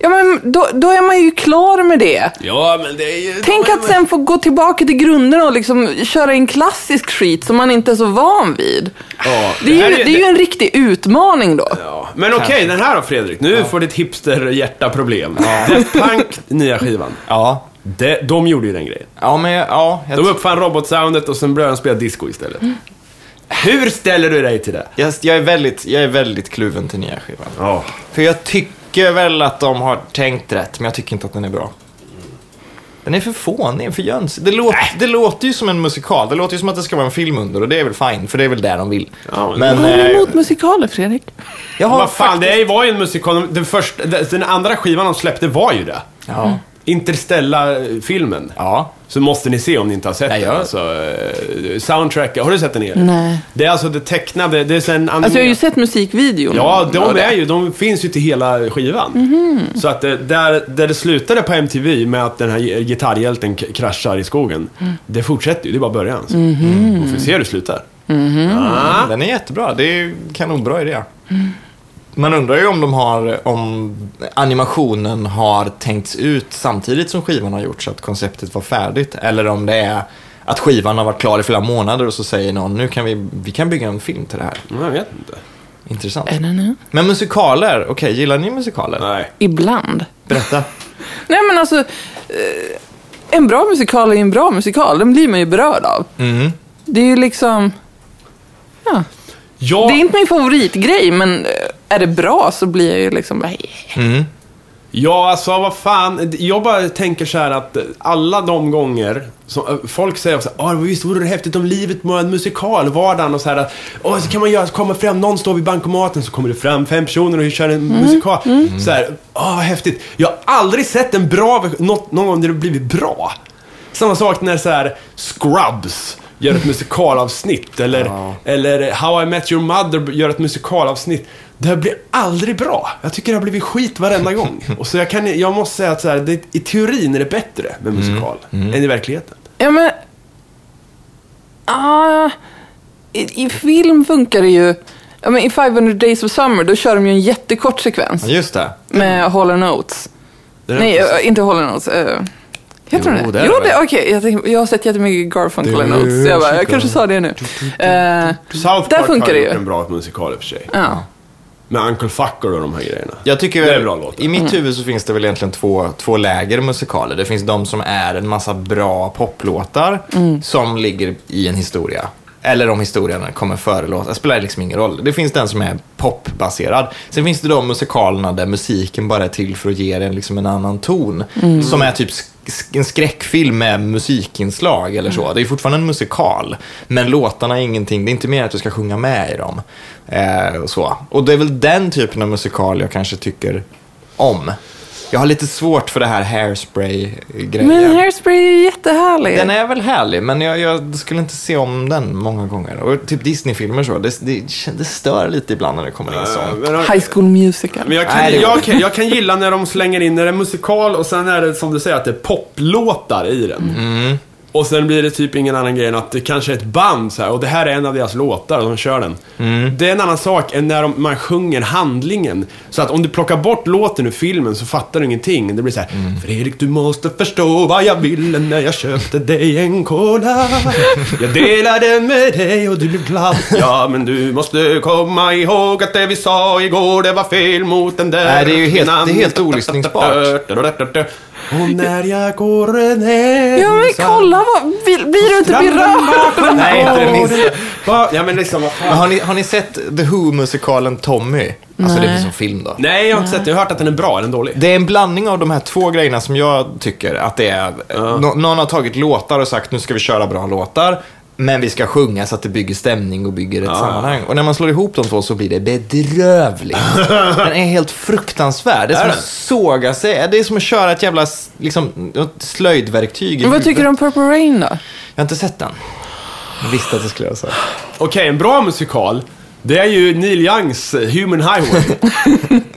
C: Ja, men då, då är man ju klar med det.
B: Ja, men det är ju...
C: Tänk att sen få gå tillbaka till grunderna och liksom köra en klassisk skit som man inte är så van vid.
B: Ja,
C: Det är, ju,
B: här
C: det är ju en riktig utmaning då.
B: Ja. Men okej, den här då Fredrik. Nu får ditt hipsterhjärta-problem. Death Punk, nya skivan.
A: Ja.
B: De, de gjorde ju den grejen.
A: Ja, men jag- ja, jag
B: De uppfann robotsoundet och sen började de spela disco istället.
C: Mm.
B: Hur ställer du dig till det?
A: Jag, jag, är väldigt, jag är väldigt kluven till nya skivan.
B: Ja.
A: För jag tycker väl att de har tänkt rätt, men jag tycker inte att den är bra. Den är för fånig, för jönsig. Det, låt, det låter ju som en musikal. Det låter ju som att det ska vara en film under och det är väl fine, för det är väl det de vill.
B: Ja, men-
A: men
C: Vad har du
A: eh,
C: emot musikaler, Fredrik?
A: jag har
B: Vad fan,
A: faktiskt...
B: det var ju en musikal. Den, första, den andra skivan de släppte var ju det.
A: Ja.
B: Interstellar-filmen.
A: Ja.
B: Så måste ni se om ni inte har sett
A: Nej,
B: den.
A: jag-
B: Alltså, eh, soundtrack, har du sett den Elin?
C: Nej.
B: Det är alltså det tecknade, det är sen animerat.
C: Alltså jag har ju sett musikvideon.
B: Ja, de
C: av det. Mhm.
B: är ju, de finns ju till hela skivan. Så att det, där, där det slutade på MTV med att den här gi- gitarrhjälten k- kraschar i skogen,
C: Mm.
B: det fortsätter ju, det är bara början. Så.
C: Mhm.
B: Vi får se hur det slutar. Ah.
A: Den är jättebra. Det är kanonbra idé. Man undrar ju om de har, om animationen har tänkts ut samtidigt som skivan har gjorts, så att konceptet var färdigt. Eller om det är att skivan har varit klar i flera månader och så säger någon, nu kan vi, vi kan bygga en film till det här.
B: Jag vet inte.
A: Intressant.
C: Är den det?
A: Men musikaler, okej, gillar ni musikaler?
B: Nej.
C: Ibland.
A: Berätta.
C: Nej men alltså, eh, en bra musikal är en bra musikal. Den blir man ju berörd av. Det är ju liksom, ja.
B: Jag,
C: Det är inte min favoritgrej, men eh, är det bra så blir jag ju liksom bara, "Eh."
B: Ja, alltså vad fan. Jag bara tänker så här att alla de gånger som folk säger så här, "Ah, visst vore det häftigt om livet var en musikal, vardagen och så här att, "Åh, så kan man göra, så kommer fram, någon står vid bankomaten så kommer det fram fem personer och kör en musikal. Så här, åh vad häftigt. Jag har aldrig sett en bra, version- något, någon gång där det blivit bra. Samma sak när så här Scrubs gör ett musikalavsnitt eller, eller How I Met Your Mother gör ett musikalavsnitt. Det här blir aldrig bra. Jag tycker det har blivit skit varenda gång.
A: [LAUGHS]
B: Och så jag, kan, jag måste säga att så här, det, i teorin är det bättre med
A: Mm.
B: musikal än i verkligheten.
C: ja men, ah, i, i film funkar det ju, ja men i 500 Days of Summer, då kör de ju en jättekort sekvens
A: Just det.
C: med Hall and Oates.
B: Det är
C: Nej,
B: inte så-
C: eh, inte Hall and Oates. eh, Heter
A: Jo,
C: den
A: det
C: det?
A: är
C: Jo,
A: det
C: det,
A: väl.
C: okej. Jag, tänkte- jag har sett jättemycket Garfunkel
A: Det är
C: and Oates. så Jag, bara, jag
A: musical.
C: kanske sa det nu. Eh,
B: South
C: där
B: Park
C: funkar
B: har
C: det
B: gjort
C: ju.
B: en bra musikal i och för sig.
C: ja.
B: Med Uncle Fucker och de här grejerna.
A: Jag tycker
B: Det
A: väl,
B: är bra låt.
A: i mitt huvud så finns det väl egentligen två, två läger musikaler. Det finns de som är en massa bra poplåtar som ligger i en historia. Eller om historien kommer före låten. Det spelar liksom ingen roll. Det finns den som är popbaserad. Sen finns det de musikalerna där musiken bara är till för att ge den liksom en annan ton. Som är typ sk- sk- en skräckfilm med musikinslag eller så. Det är fortfarande en musikal. Men låtarna är ingenting. Det är inte mer att du ska sjunga med i dem. Eh, och, så. och det är väl den typen av musikal jag kanske tycker om. Jag har lite svårt för det här hairspray-grejen.
C: Men Hairspray är ju jättehärlig.
A: Den är väl härlig, men jag, jag skulle inte se om den många gånger. Och typ Disney-filmer så, det, det, det stör lite ibland när det kommer in
B: Eh,
A: sånt.
B: men-
C: High School Musical.
B: Men jag, kan,
A: Nej, det går
B: jag, kan, jag kan gilla när de slänger in, när det är musikal och sen är det som du säger att det är poplåtar i den.
A: Mm.
B: Och sen blir det typ ingen annan grej än att det kanske är ett band så här, och det här är en av deras låtar och de kör den.
A: Mm.
B: Det är en annan sak än när de, man sjunger handlingen. Så att om du plockar bort låten ur filmen så fattar du ingenting. Det blir så här,
A: Mm.
B: Fredrik du måste förstå vad jag ville när jag köpte dig en
A: [LAUGHS]
B: cola. Jag delade med dig och du blev glad. Ja men du måste komma ihåg att det vi sa igår det var fel mot den där.
A: Nej, det är ju helt- det är helt olyssningsbart.
B: [LAUGHS] Och när jag går ner
C: Ja, men
B: så-
C: kolla vad... Blir blir du inte
B: Stranden
C: berörd? [LAUGHS]
B: bakom
A: Nej, inte det
B: gården.
A: minsta.
B: Va? Ja men liksom vad
A: Men
B: fan.
A: har, ni, har ni sett The Who-musikalen Tommy? Alltså det
C: Nej.
A: finns en film då.
B: Nej jag har inte sett den, jag har hört att den är bra, är den dålig?
A: Det är en blandning av de här två grejerna som jag tycker att det är. Nå- någon har tagit låtar och sagt nu ska vi köra bra låtar. Men vi ska sjunga så att det bygger stämning och bygger ett sammanhang. Och när man slår ihop de två så blir det [LAUGHS] bedrövligt. Den är helt fruktansvärd. Det är som
B: Är
A: att
B: den? såga
A: såga sig. Det är som att köra ett jävla s- liksom, ett slöjdverktyg. i
C: Vad
A: huvudet.
C: tycker du om Purple Rain då?
A: Jag har inte sett den. Jag visste att det skulle vara så.
B: Okej, en bra musikal, det är ju Neil Youngs eh, Human Highway.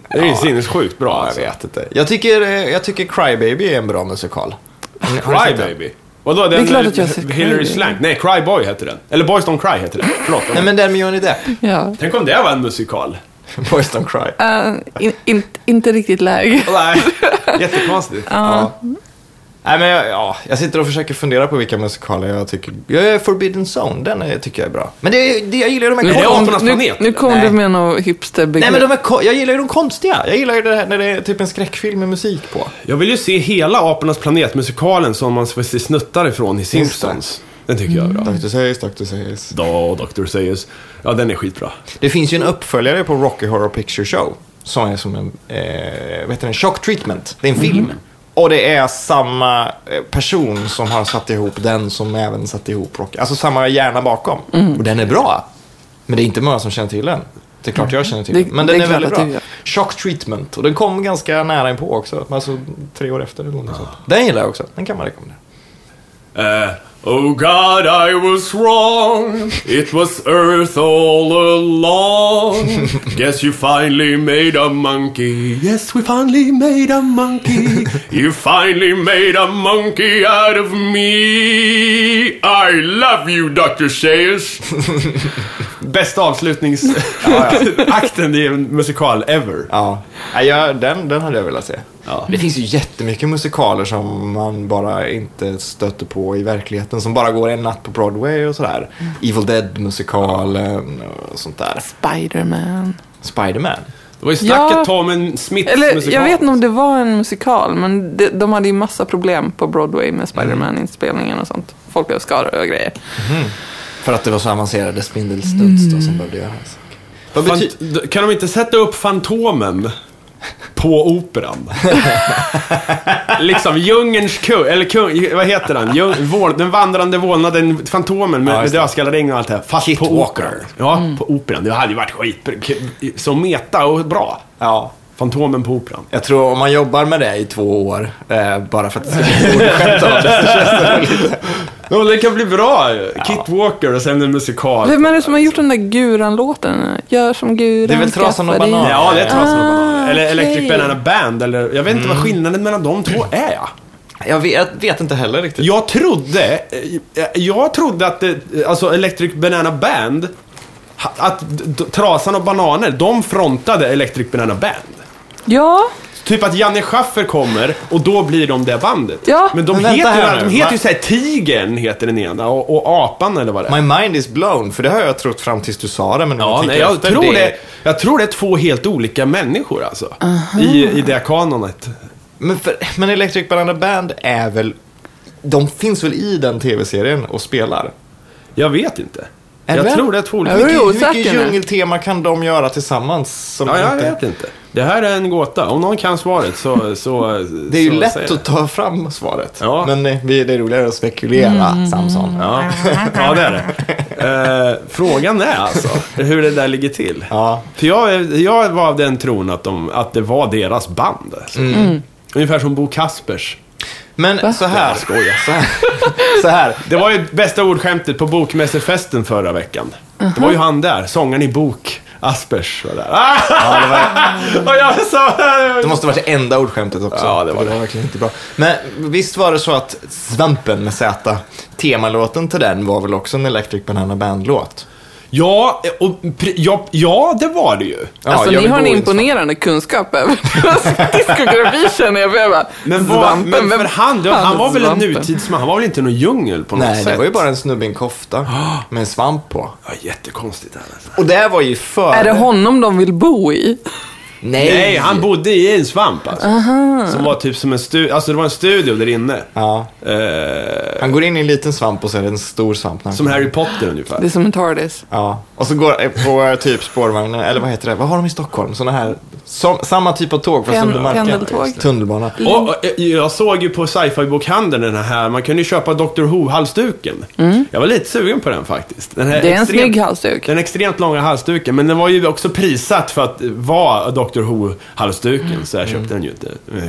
B: det är ju sinnessjukt bra alltså.
A: Jag vet inte. Jag tycker, eh, jag tycker Crybaby är en bra musikal. Har ni- har ni sett
B: Cry
A: den?
B: Baby. Vadå, den
C: Det är klart
B: med
C: att jag har sett Cry
B: Hillary
C: Baby.
B: Slank? Nej, Cry Boy heter den. Eller Boys Don't Cry heter den. Förlåt.
A: Nej men den med Johnny Depp. [LAUGHS]
C: Ja.
B: Tänk om det var en musikal?
A: Boys Don't Cry.
C: Eh, in, in, inte riktigt läge.
B: Nej, jättekonstigt.
A: Ja. Nej, men jag, ja, jag sitter och försöker fundera på vilka musikaler jag tycker... Jag är Forbidden Zone, den är, tycker jag är bra. Men det, det, jag gillar ju de här...
B: Men det är
A: kon-
B: apornas
C: nu,
B: planet,
C: nu
B: eller?
C: kom
A: Nej.
C: du med något hipster
A: Nej, men de är, ko- jag gillar ju de konstiga. Jag gillar ju det här när det är typ en skräckfilm med musik på.
B: Jag vill ju se hela Apornas Planet-musikalen som man får se snuttar ifrån i
A: det. Mm.
B: Simpsons. Den tycker jag är bra.
A: Dr. Sayers, Dr. Sayers.
B: Då, Dr. Seuss. Ja, den är skitbra.
A: Det finns ju en uppföljare på Rocky Horror Picture Show. Som är som en... Eh, vad heter den? Shock Treatment. Det är en
C: Mhm.
A: film. Och det är samma eh, person som har satt ihop den som även
C: Mm.
A: satt ihop Rocky. Alltså samma hjärna bakom. Och den är bra. Men det är inte många som känner till den. Det är klart jag känner till
C: Mm. Det-
A: den. Men
C: det
A: den
C: är
A: är,
C: klart
A: väldigt
C: att du
A: bra.
C: gör.
A: Shock treatment. Och den kom ganska nära in på också. Alltså tre år efter eller någonting sånt. Den gillar jag också. Den kan man rekommendera.
B: Eh, oh God, I was wrong. It was Earth all [LAUGHS] along. Guess you finally made a monkey. Yes, we finally made a [LAUGHS] monkey. You finally made a monkey out of me. I love you, Dr. [LAUGHS] Seuss. Bästa [LAUGHS] avslutningsakten i en musikal ever.
A: Ja. Nej, jag, den, den hade jag velat se.
B: Ja.
A: Det finns ju jättemycket musikaler som man bara inte stöter på i verkligheten. Som bara går en natt på Broadway och sådär. Evil Dead-musikalen och sånt där.
C: Spiderman.
A: Spiderman.
B: Det var ju
C: Ja.
B: snacket om en Smiths
C: Eller
B: musikal.
C: jag vet inte om det var en musikal, men de, de hade ju massa problem på Broadway med Spiderman-inspelningen och sånt. Folk blev skadade och grejer.
A: För att det var så avancerade spindelstuds då som behövde göras. Vad
B: Fant-
A: bety-
B: d- kan de inte sätta upp Fantomen på Operan? [LAUGHS] liksom djungelns kung, eller kung, vad heter han? Djung, vål, den vandrande vålnaden, Fantomen med,
A: Ja,
B: med
A: just det.
B: dödskalleregn och allt det här. Fast
A: Kit
B: på
A: Walker.
B: Operan. Ja, på Operan. Det hade ju varit skit Så meta och bra.
A: ja.
B: Fantomen på Operan.
A: Jag tror om man jobbar med det i två år, eh, bara för att det ska bli ett ordskämt av det, så känns det väl lite...
B: Ja, det kan bli bra ju. Kit Walker och sen en musikal.
C: Vem är det som har gjort den där Guran-låten? Gör som Guran,
A: Det är väl Trasan och
C: skaffa dig-
A: Banan.
B: Ja, det är Trasan och
C: Ah,
B: Bananen. Eller Electric
C: okej.
B: Banana Band. Eller, jag vet inte vad skillnaden mellan de två är.
A: [LAUGHS] Jag vet, vet inte heller riktigt.
B: Jag trodde, eh, jag trodde att det, alltså Electric Banana Band, ha- att d- d- Trasan och Bananer, de frontade Electric Banana Band.
C: Ja,
B: Typ att Janne Schaffer kommer och då blir de det bandet.
C: Ja.
B: Men de
A: Men vänta
B: heter,
A: här
B: ju,
A: nu.
B: de heter ju
A: Va?
B: såhär Tigern heter den ena och, och Apan eller vad det är.
A: My mind is blown, för det har jag trott fram tills du sa det. Men när
B: Ja,
A: tänker
B: nej, jag,
A: efter,
B: tror det, jag tror det är två helt olika människor alltså. I, I det kanonet.
A: Men, för, men Electric Banana Band är väl... De finns väl i den tv-serien och spelar?
B: Jag vet inte.
A: Är
B: jag
A: det?
B: tror det är två olika.
C: Är det?
A: Hur,
C: är
A: hur
C: osäker
A: mycket
C: nu.
A: djungeltema kan de göra tillsammans? Som
B: Ja, jag
A: inte-
B: vet inte. Det här är en gåta. Om någon kan svaret så... så
A: [LAUGHS] Det är ju
B: så säg
A: lätt
B: det.
A: att ta fram svaret.
B: Ja.
A: Men eh, vi- det är roligare att spekulera, Samson.
B: Ja. ja, det är det. Eh, frågan är alltså hur det där ligger till.
A: Ja.
B: För jag, jag var av den tron att, de, att det var deras band. Alltså.
A: Mm.
B: Ungefär som Bo Kaspers.
A: Men så här.
B: Jag skojar.
A: Så här. [LAUGHS] Så här.
B: Det var ju bästa ordskämtet på bokmässefesten förra veckan. Det var ju han där, sångaren i Bok. Aspers var där. [LAUGHS] Och jag sa...
A: Det måste ha varit det enda ordskämtet också.
B: Ja, det var
A: För
B: det.
A: var verkligen inte bra. Men visst var det så att Svampen med Z, temalåten till den var väl också en Electric Banana Band-låt?
B: Ja, och, pri- ja, ja, det var det ju.
A: Ja,
C: alltså
A: jag
C: ni
A: vill
C: har en
A: bo i en
C: imponerande kunskap över deras [LAUGHS] diskografi känner jag. för jag bara,
B: Men, vad,
C: Svampen,
B: men
C: vem
B: för han, det- han
C: fan
B: var väl en
C: Svampen?
B: nutidsman? Han var väl inte i någon djungel på något
A: Nej,
B: sätt?
A: det var ju bara en snubbe i
B: [GASPS]
A: en kofta med en svamp på.
B: Ja, jättekonstigt. här, Alltså.
A: Och det var ju före...
C: Är det honom de vill bo i?
A: Nej!
B: Nej, han bodde i en svamp alltså. Som var typ som en studio, alltså det var en studio där inne.
A: Ja,
B: Eh,
A: han går in i en liten svamp och så är det en stor svamp. när han
B: som
A: kommer.
B: Harry Potter
C: Det
B: ungefär.
C: är som en Tardis.
A: Ja, och så går eh, på eh, typ spårvagnen, eller vad heter det? Vad har de i Stockholm? Såna här, som, samma typ av tåg fast
C: Pen-
A: under marken.
C: pendeltåg.
A: Tunnelbana.
B: Och, och, eh, jag såg ju på sci-fi-bokhandeln den här, man kunde ju köpa Dr. Who-halsduken. Jag var lite sugen på den faktiskt. Den här
C: Mm. Det är en
B: Eh, extremt-
C: snygg halsduk.
B: Den extremt långa halsduken, men den var ju också prissatt för att vara Dr. Who-halsduken. Så jag köpte den ju inte.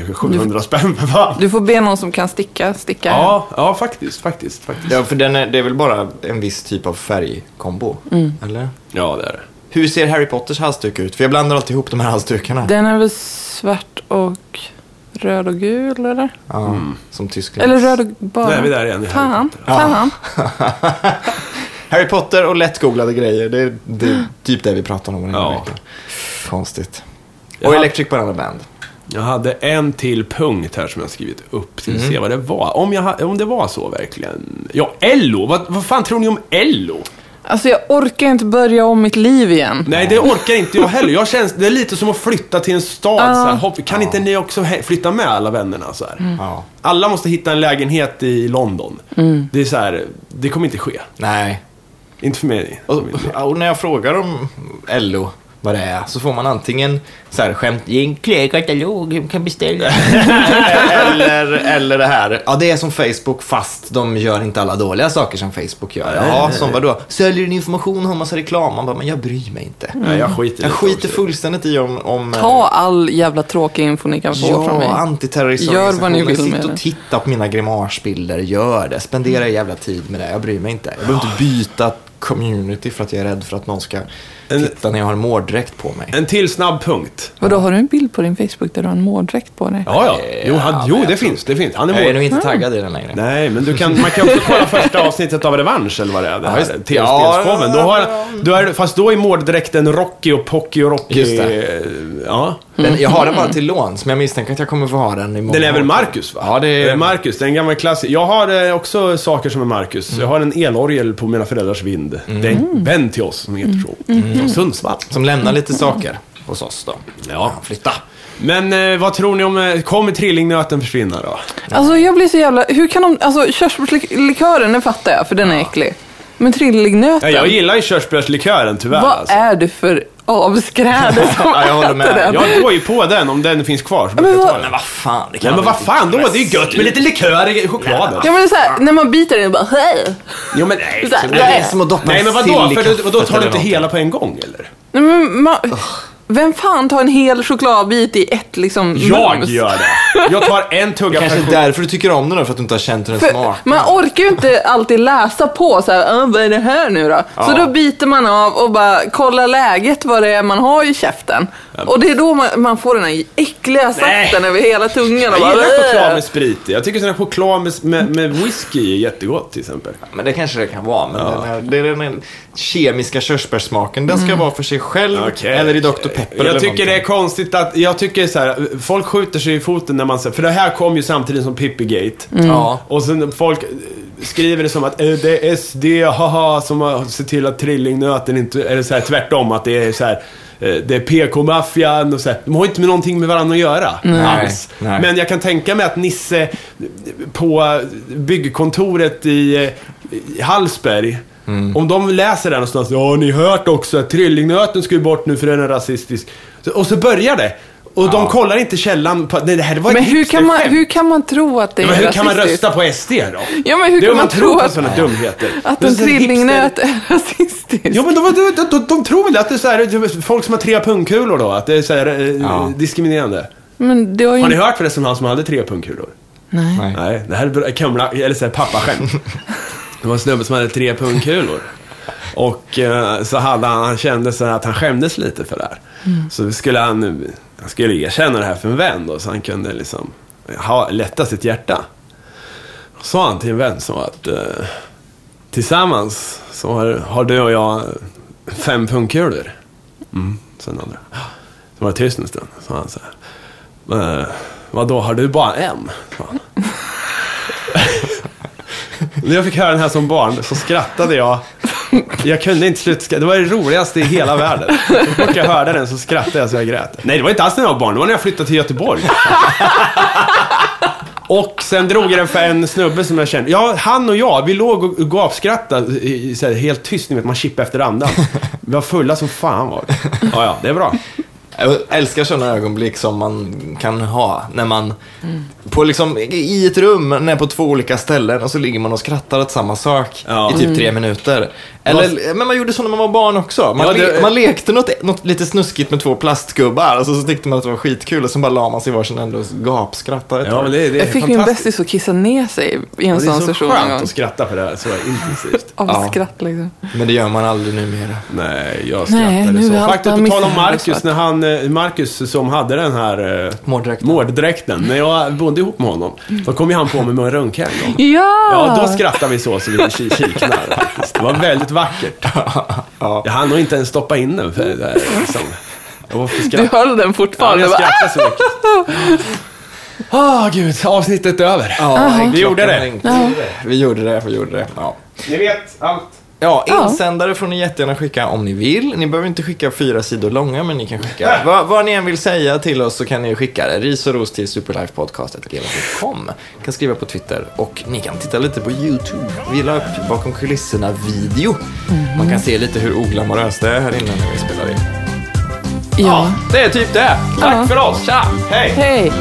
B: Eh, 700 spänn för fan.
C: Du får be någon som kan sticka, sticka.
B: Ja, ja faktiskt, faktiskt, faktiskt.
A: Ja, för den är, det är väl bara en viss typ av färgkombo?
C: Mm.
A: Eller?
B: Ja, det är det.
A: Hur ser Harry Potters halsduk ut? För jag blandar alltid ihop de här halsdukarna.
C: Den är väl svart och röd och gul eller?
A: Ja,
B: Mm.
A: Som tyskarna.
C: Eller röd och bara.
B: Nu är vi där igen i Harry
C: Fan,
B: Potter.
C: fan.
A: Harry Potter och lättgooglade grejer. Det är, det är typ det vi pratar om den här
B: Ja.
A: veckan. Konstigt.
B: Jag
A: Och
B: hade-
A: Electric Banana Band.
B: Jag hade en till punkt här som jag skrivit upp. Ska vi se vad det var. Om, jag, ha- om det var så verkligen. Ja, Ello. Vad, vad fan tror ni om Ello?
C: Alltså jag orkar inte börja om mitt liv igen.
B: Nej, det orkar inte jag heller. Jag känns, det är lite som att flytta till en stad.
C: Ja.
B: Så här, hopp, kan inte ni också he- flytta med alla vännerna? Så här.
A: Ja.
B: Alla måste hitta en lägenhet i London. Det är så här, det kommer inte ske.
A: Nej.
B: Inte för mig.
A: Och, och när jag frågar om LO vad det är. Så får man antingen så här skämt, i en klädkatalog, du
B: [LAUGHS]
A: kan beställa. eller, eller det här, ja det är som Facebook fast de gör inte alla dåliga saker som Facebook gör. Ja, som vadå? Säljer din information och har massa reklam? Man bara, men jag bryr mig inte.
B: Nej, jag skiter i
A: Jag
B: det
A: skiter
B: också.
A: fullständigt i om... om
C: Ta all jävla tråkig info ni kan få från
A: Ja,
C: mig. Gör vad ni
A: antiterroristorganisationer.
C: vill
A: Sitt
C: med
A: och
C: det. Mm.
A: titta på mina grimasbilder. Gör det. Spendera jävla tid med det. Jag bryr mig inte. Jag behöver
C: Ah.
A: inte byta community för att jag är rädd för att någon ska
B: En-
A: titta när jag har en mårddräkt på mig.
B: En till snabb punkt.
C: Vadå, har du en bild på din Facebook där du har en mårdräkt på dig?
B: Ja, ja. Jo, han, jo det finns. Det finns. Han är
A: Jag är
B: mål.
A: nog
C: Ah.
A: inte taggad i den längre.
B: Nej, men du kan, man kan också kolla första avsnittet av Revansch, eller vad det är. Det här
A: just-
B: tv-spelsshowen. Då har, då är, fast då är mårddräkten Rocky och Pocky och Rocky.
A: Just
B: eh, Ja.
A: Den, jag har den
C: Mm.
A: bara till låns, men jag misstänker att jag kommer få ha den i många
B: Den är väl
A: år.
B: Marcus, va?
A: Ja, det är-
B: Eh, Marcus, den gamla klassiker. Jag har eh, också saker som är Marcus.
A: Mm.
B: Jag har en elorgel på mina föräldrars vind. Det är en vän till oss som heter så.
C: Mm.
B: Från Sundsvall.
A: Som lämnar lite saker hos oss då.
B: Ja.
A: Flytta.
C: Ah.
B: Men eh, vad tror ni om... eh, Kommer trillingnöten försvinna då?
C: Alltså jag blir så jävla... Hur kan de... Alltså körsbärslikören, den fattar jag, för den är äcklig. Men
B: Ja,
C: trillingnöten?
B: jag gillar ju körsbärslikören tyvärr.
C: Vad
B: alltså.
C: är du för avskräde som
A: [LAUGHS] Ja, jag håller
C: äter
A: med.
C: den?
B: Jag går ju på den om den finns kvar. Så brukar jag
C: vad-
B: ta den.
A: Men vad fan, det kan
B: Ja, men
A: man
B: vad
A: inte-
B: fan då? Det är ju gött med lite likör i chokladen.
C: Ja men så här, när man biter den bara hej.
B: Jo, men nej.
C: Så här,
A: Det är som att doppa
B: Nej, men
A: sill
B: vadå?
A: i
B: För
A: kaffet
B: då, då tar du
A: eller
B: inte
A: någonting.
B: hela på en gång, eller?
C: Nej, men man, Mm, vem fan tar en hel chokladbit i ett liksom
B: Jag
C: mums?
B: gör det. Jag tar en tugga per
A: Kanske
B: chok-
A: inte därför du tycker om den då, för att du inte har känt hur den
C: För
A: smakar.
C: man orkar ju inte alltid läsa på så här, "Ah, vad är det här nu då? Så då biter man av och bara kollar läget vad det är man har i käften. Och det är då man, man får den här äckliga saften över hela tungan.
B: Jag
C: Och bara,
B: gillar choklad
C: "Åh."
B: med sprit i. Jag tycker sån här choklad med, med, med whisky är jättegott till exempel.
A: Men det kanske det kan vara. Men den, här, det är den här kemiska körsbärssmaken. Den ska vara för sig själv
B: Okej.
A: eller i Dr. Pepper. eller
B: Jag tycker det är
A: någonting.
B: konstigt att, jag tycker så här, folk skjuter sig i foten när man säger, för det här kom ju samtidigt som Pippigate.
C: Mm.
A: Ja.
B: Och sen folk eh, skriver det som att eh, det är SD, haha, som har sett till att trillingnöten inte, eller så här, tvärtom, att det är så här, eh, det är PK-maffian och så här. De har inte med någonting med varandra att göra. Alls.
A: Nej, nej.
B: Men jag kan tänka mig att Nisse eh, på byggkontoret i, eh, i Hallsberg,
C: Mm.
B: om de läser det någonstans, ja har ni hört också att trillingnöten ska ju bort nu för den är rasistisk. Så- Och så börjar det. Och de kollar inte källan på, nej det här var ett
C: Men hur kan, man,
B: hipsterkämt.
C: hur kan man tro att det är
B: Ja, men hur kan man
C: rasistiskt?
B: rösta på SD då?
C: Ja, men hur
B: det är
C: kan
B: om
C: man
B: man tror
C: tro
B: på
C: att-
B: sådana dumheter.
C: Att
B: Men
C: en
B: så hipster-
C: trillingnöt är [LAUGHS] rasistisk?
B: Ja men de, de, de, de, de tror väl att det är så här, folk som har tre pungkulor då, att det är så här, eh,
A: Ja.
B: diskriminerande.
C: Men det har ju
B: Har ni
C: inte...
B: hört förresten han som hade tre pungkulor?
C: Nej.
A: Nej.
B: Nej, det här är bra- kumla, eller så här pappaskämt. Det var en snubbe som hade tre pungkulor. Och eh, så hade han, han kände så här att han skämdes lite för det här. Så skulle han, han skulle erkänna det här för en vän då, så han kunde liksom ha, lätta sitt hjärta. Och sa han till en vän så att eh, tillsammans så har, har du och jag fem pungkulor. Mm, sa den andra. Så var det tyst en stund, så sa han så här. Eh, vadå, har du bara en? sa han. När jag fick höra den här som barn så skrattade jag. Jag kunde inte sluta skratta. Det var det roligaste i hela världen. Så fort jag hörde den så skrattade jag så jag grät. Nej, det var inte alls när jag var barn. Det var när jag flyttade till Göteborg. Och sen drog jag den för en snubbe som jag kände. Ja, han och jag, vi låg och gapskrattade i- i så här, helt tyst. Ni vet, man chippade efter andan. Vi var fulla som fan var vi. Ja, ja, det är bra.
A: Jag älskar sådana ögonblick som man kan ha när man på liksom, i ett rum, när på två olika ställen och så ligger man och skrattar åt samma sak
B: Ja.
A: i typ tre minuter. Eller, men man gjorde så när man var barn också. Man,
B: Ja, det-
A: le, man lekte något, något lite snuskigt med två plastgubbar och så, så tyckte man att det var skitkul och så bara la man sig i varsin ände och gapskrattade ett
B: Ja,
A: tag.
B: men det, det är
C: Jag fick min
B: fantastiskt.
C: bästis att kissa ner sig i en
B: Det är
C: sån
B: så
C: session en
B: skönt
C: gång.
B: att skratta på det här så intensivt.
C: Av
A: Ja.
C: skratt liksom.
A: men det gör man aldrig numera.
B: Nej, jag
C: Nej,
B: skrattade
C: nu är
B: så.
C: allt
B: Faktiskt,
C: bara
B: på tal om
C: misshandel,
B: Marcus,
C: svart.
B: när han, eh, Marcus som hade den här eh,
A: Mårddräkten.
B: mårddräkten. När jag bodde ihop med honom, då kom ju han på mig med en röntgen en gång.
C: Ja!
B: Ja, då skrattade vi så så vi ki- kiknade faktiskt. Det var väldigt vackert. Jag hann nog inte ens stoppa in den för det där, liksom. Jag var för
C: Du
B: skratt.
C: höll den
B: Ja,
C: fortfarande.
B: jag
C: bara,
B: skrattade så mycket.
C: [LAUGHS]
B: Åh, gud. Avsnittet är över.
A: Ja,
B: Vi gjorde
A: klockan
B: det.
A: ringde. Vi gjorde det, vi gjorde det. Ja.
B: Ni vet allt.
A: Ja,
C: Ja.
A: insändare får ni jättegärna skicka om ni vill. Ni behöver inte skicka fyra sidor långa, men ni kan skicka vad, vad ni än vill säga till oss så kan ni skicka det. Ris och ros till superlifepodcast.gmail.com. Ni kan skriva på Twitter och ni kan titta lite på YouTube. Vi la upp bakom kulisserna-video. Man kan se lite hur oglamoröst det är här inne när vi spelar in.
C: Ja.
A: det är typ det. Tack
C: Ja.
A: för oss, tja, hej!
C: Hej!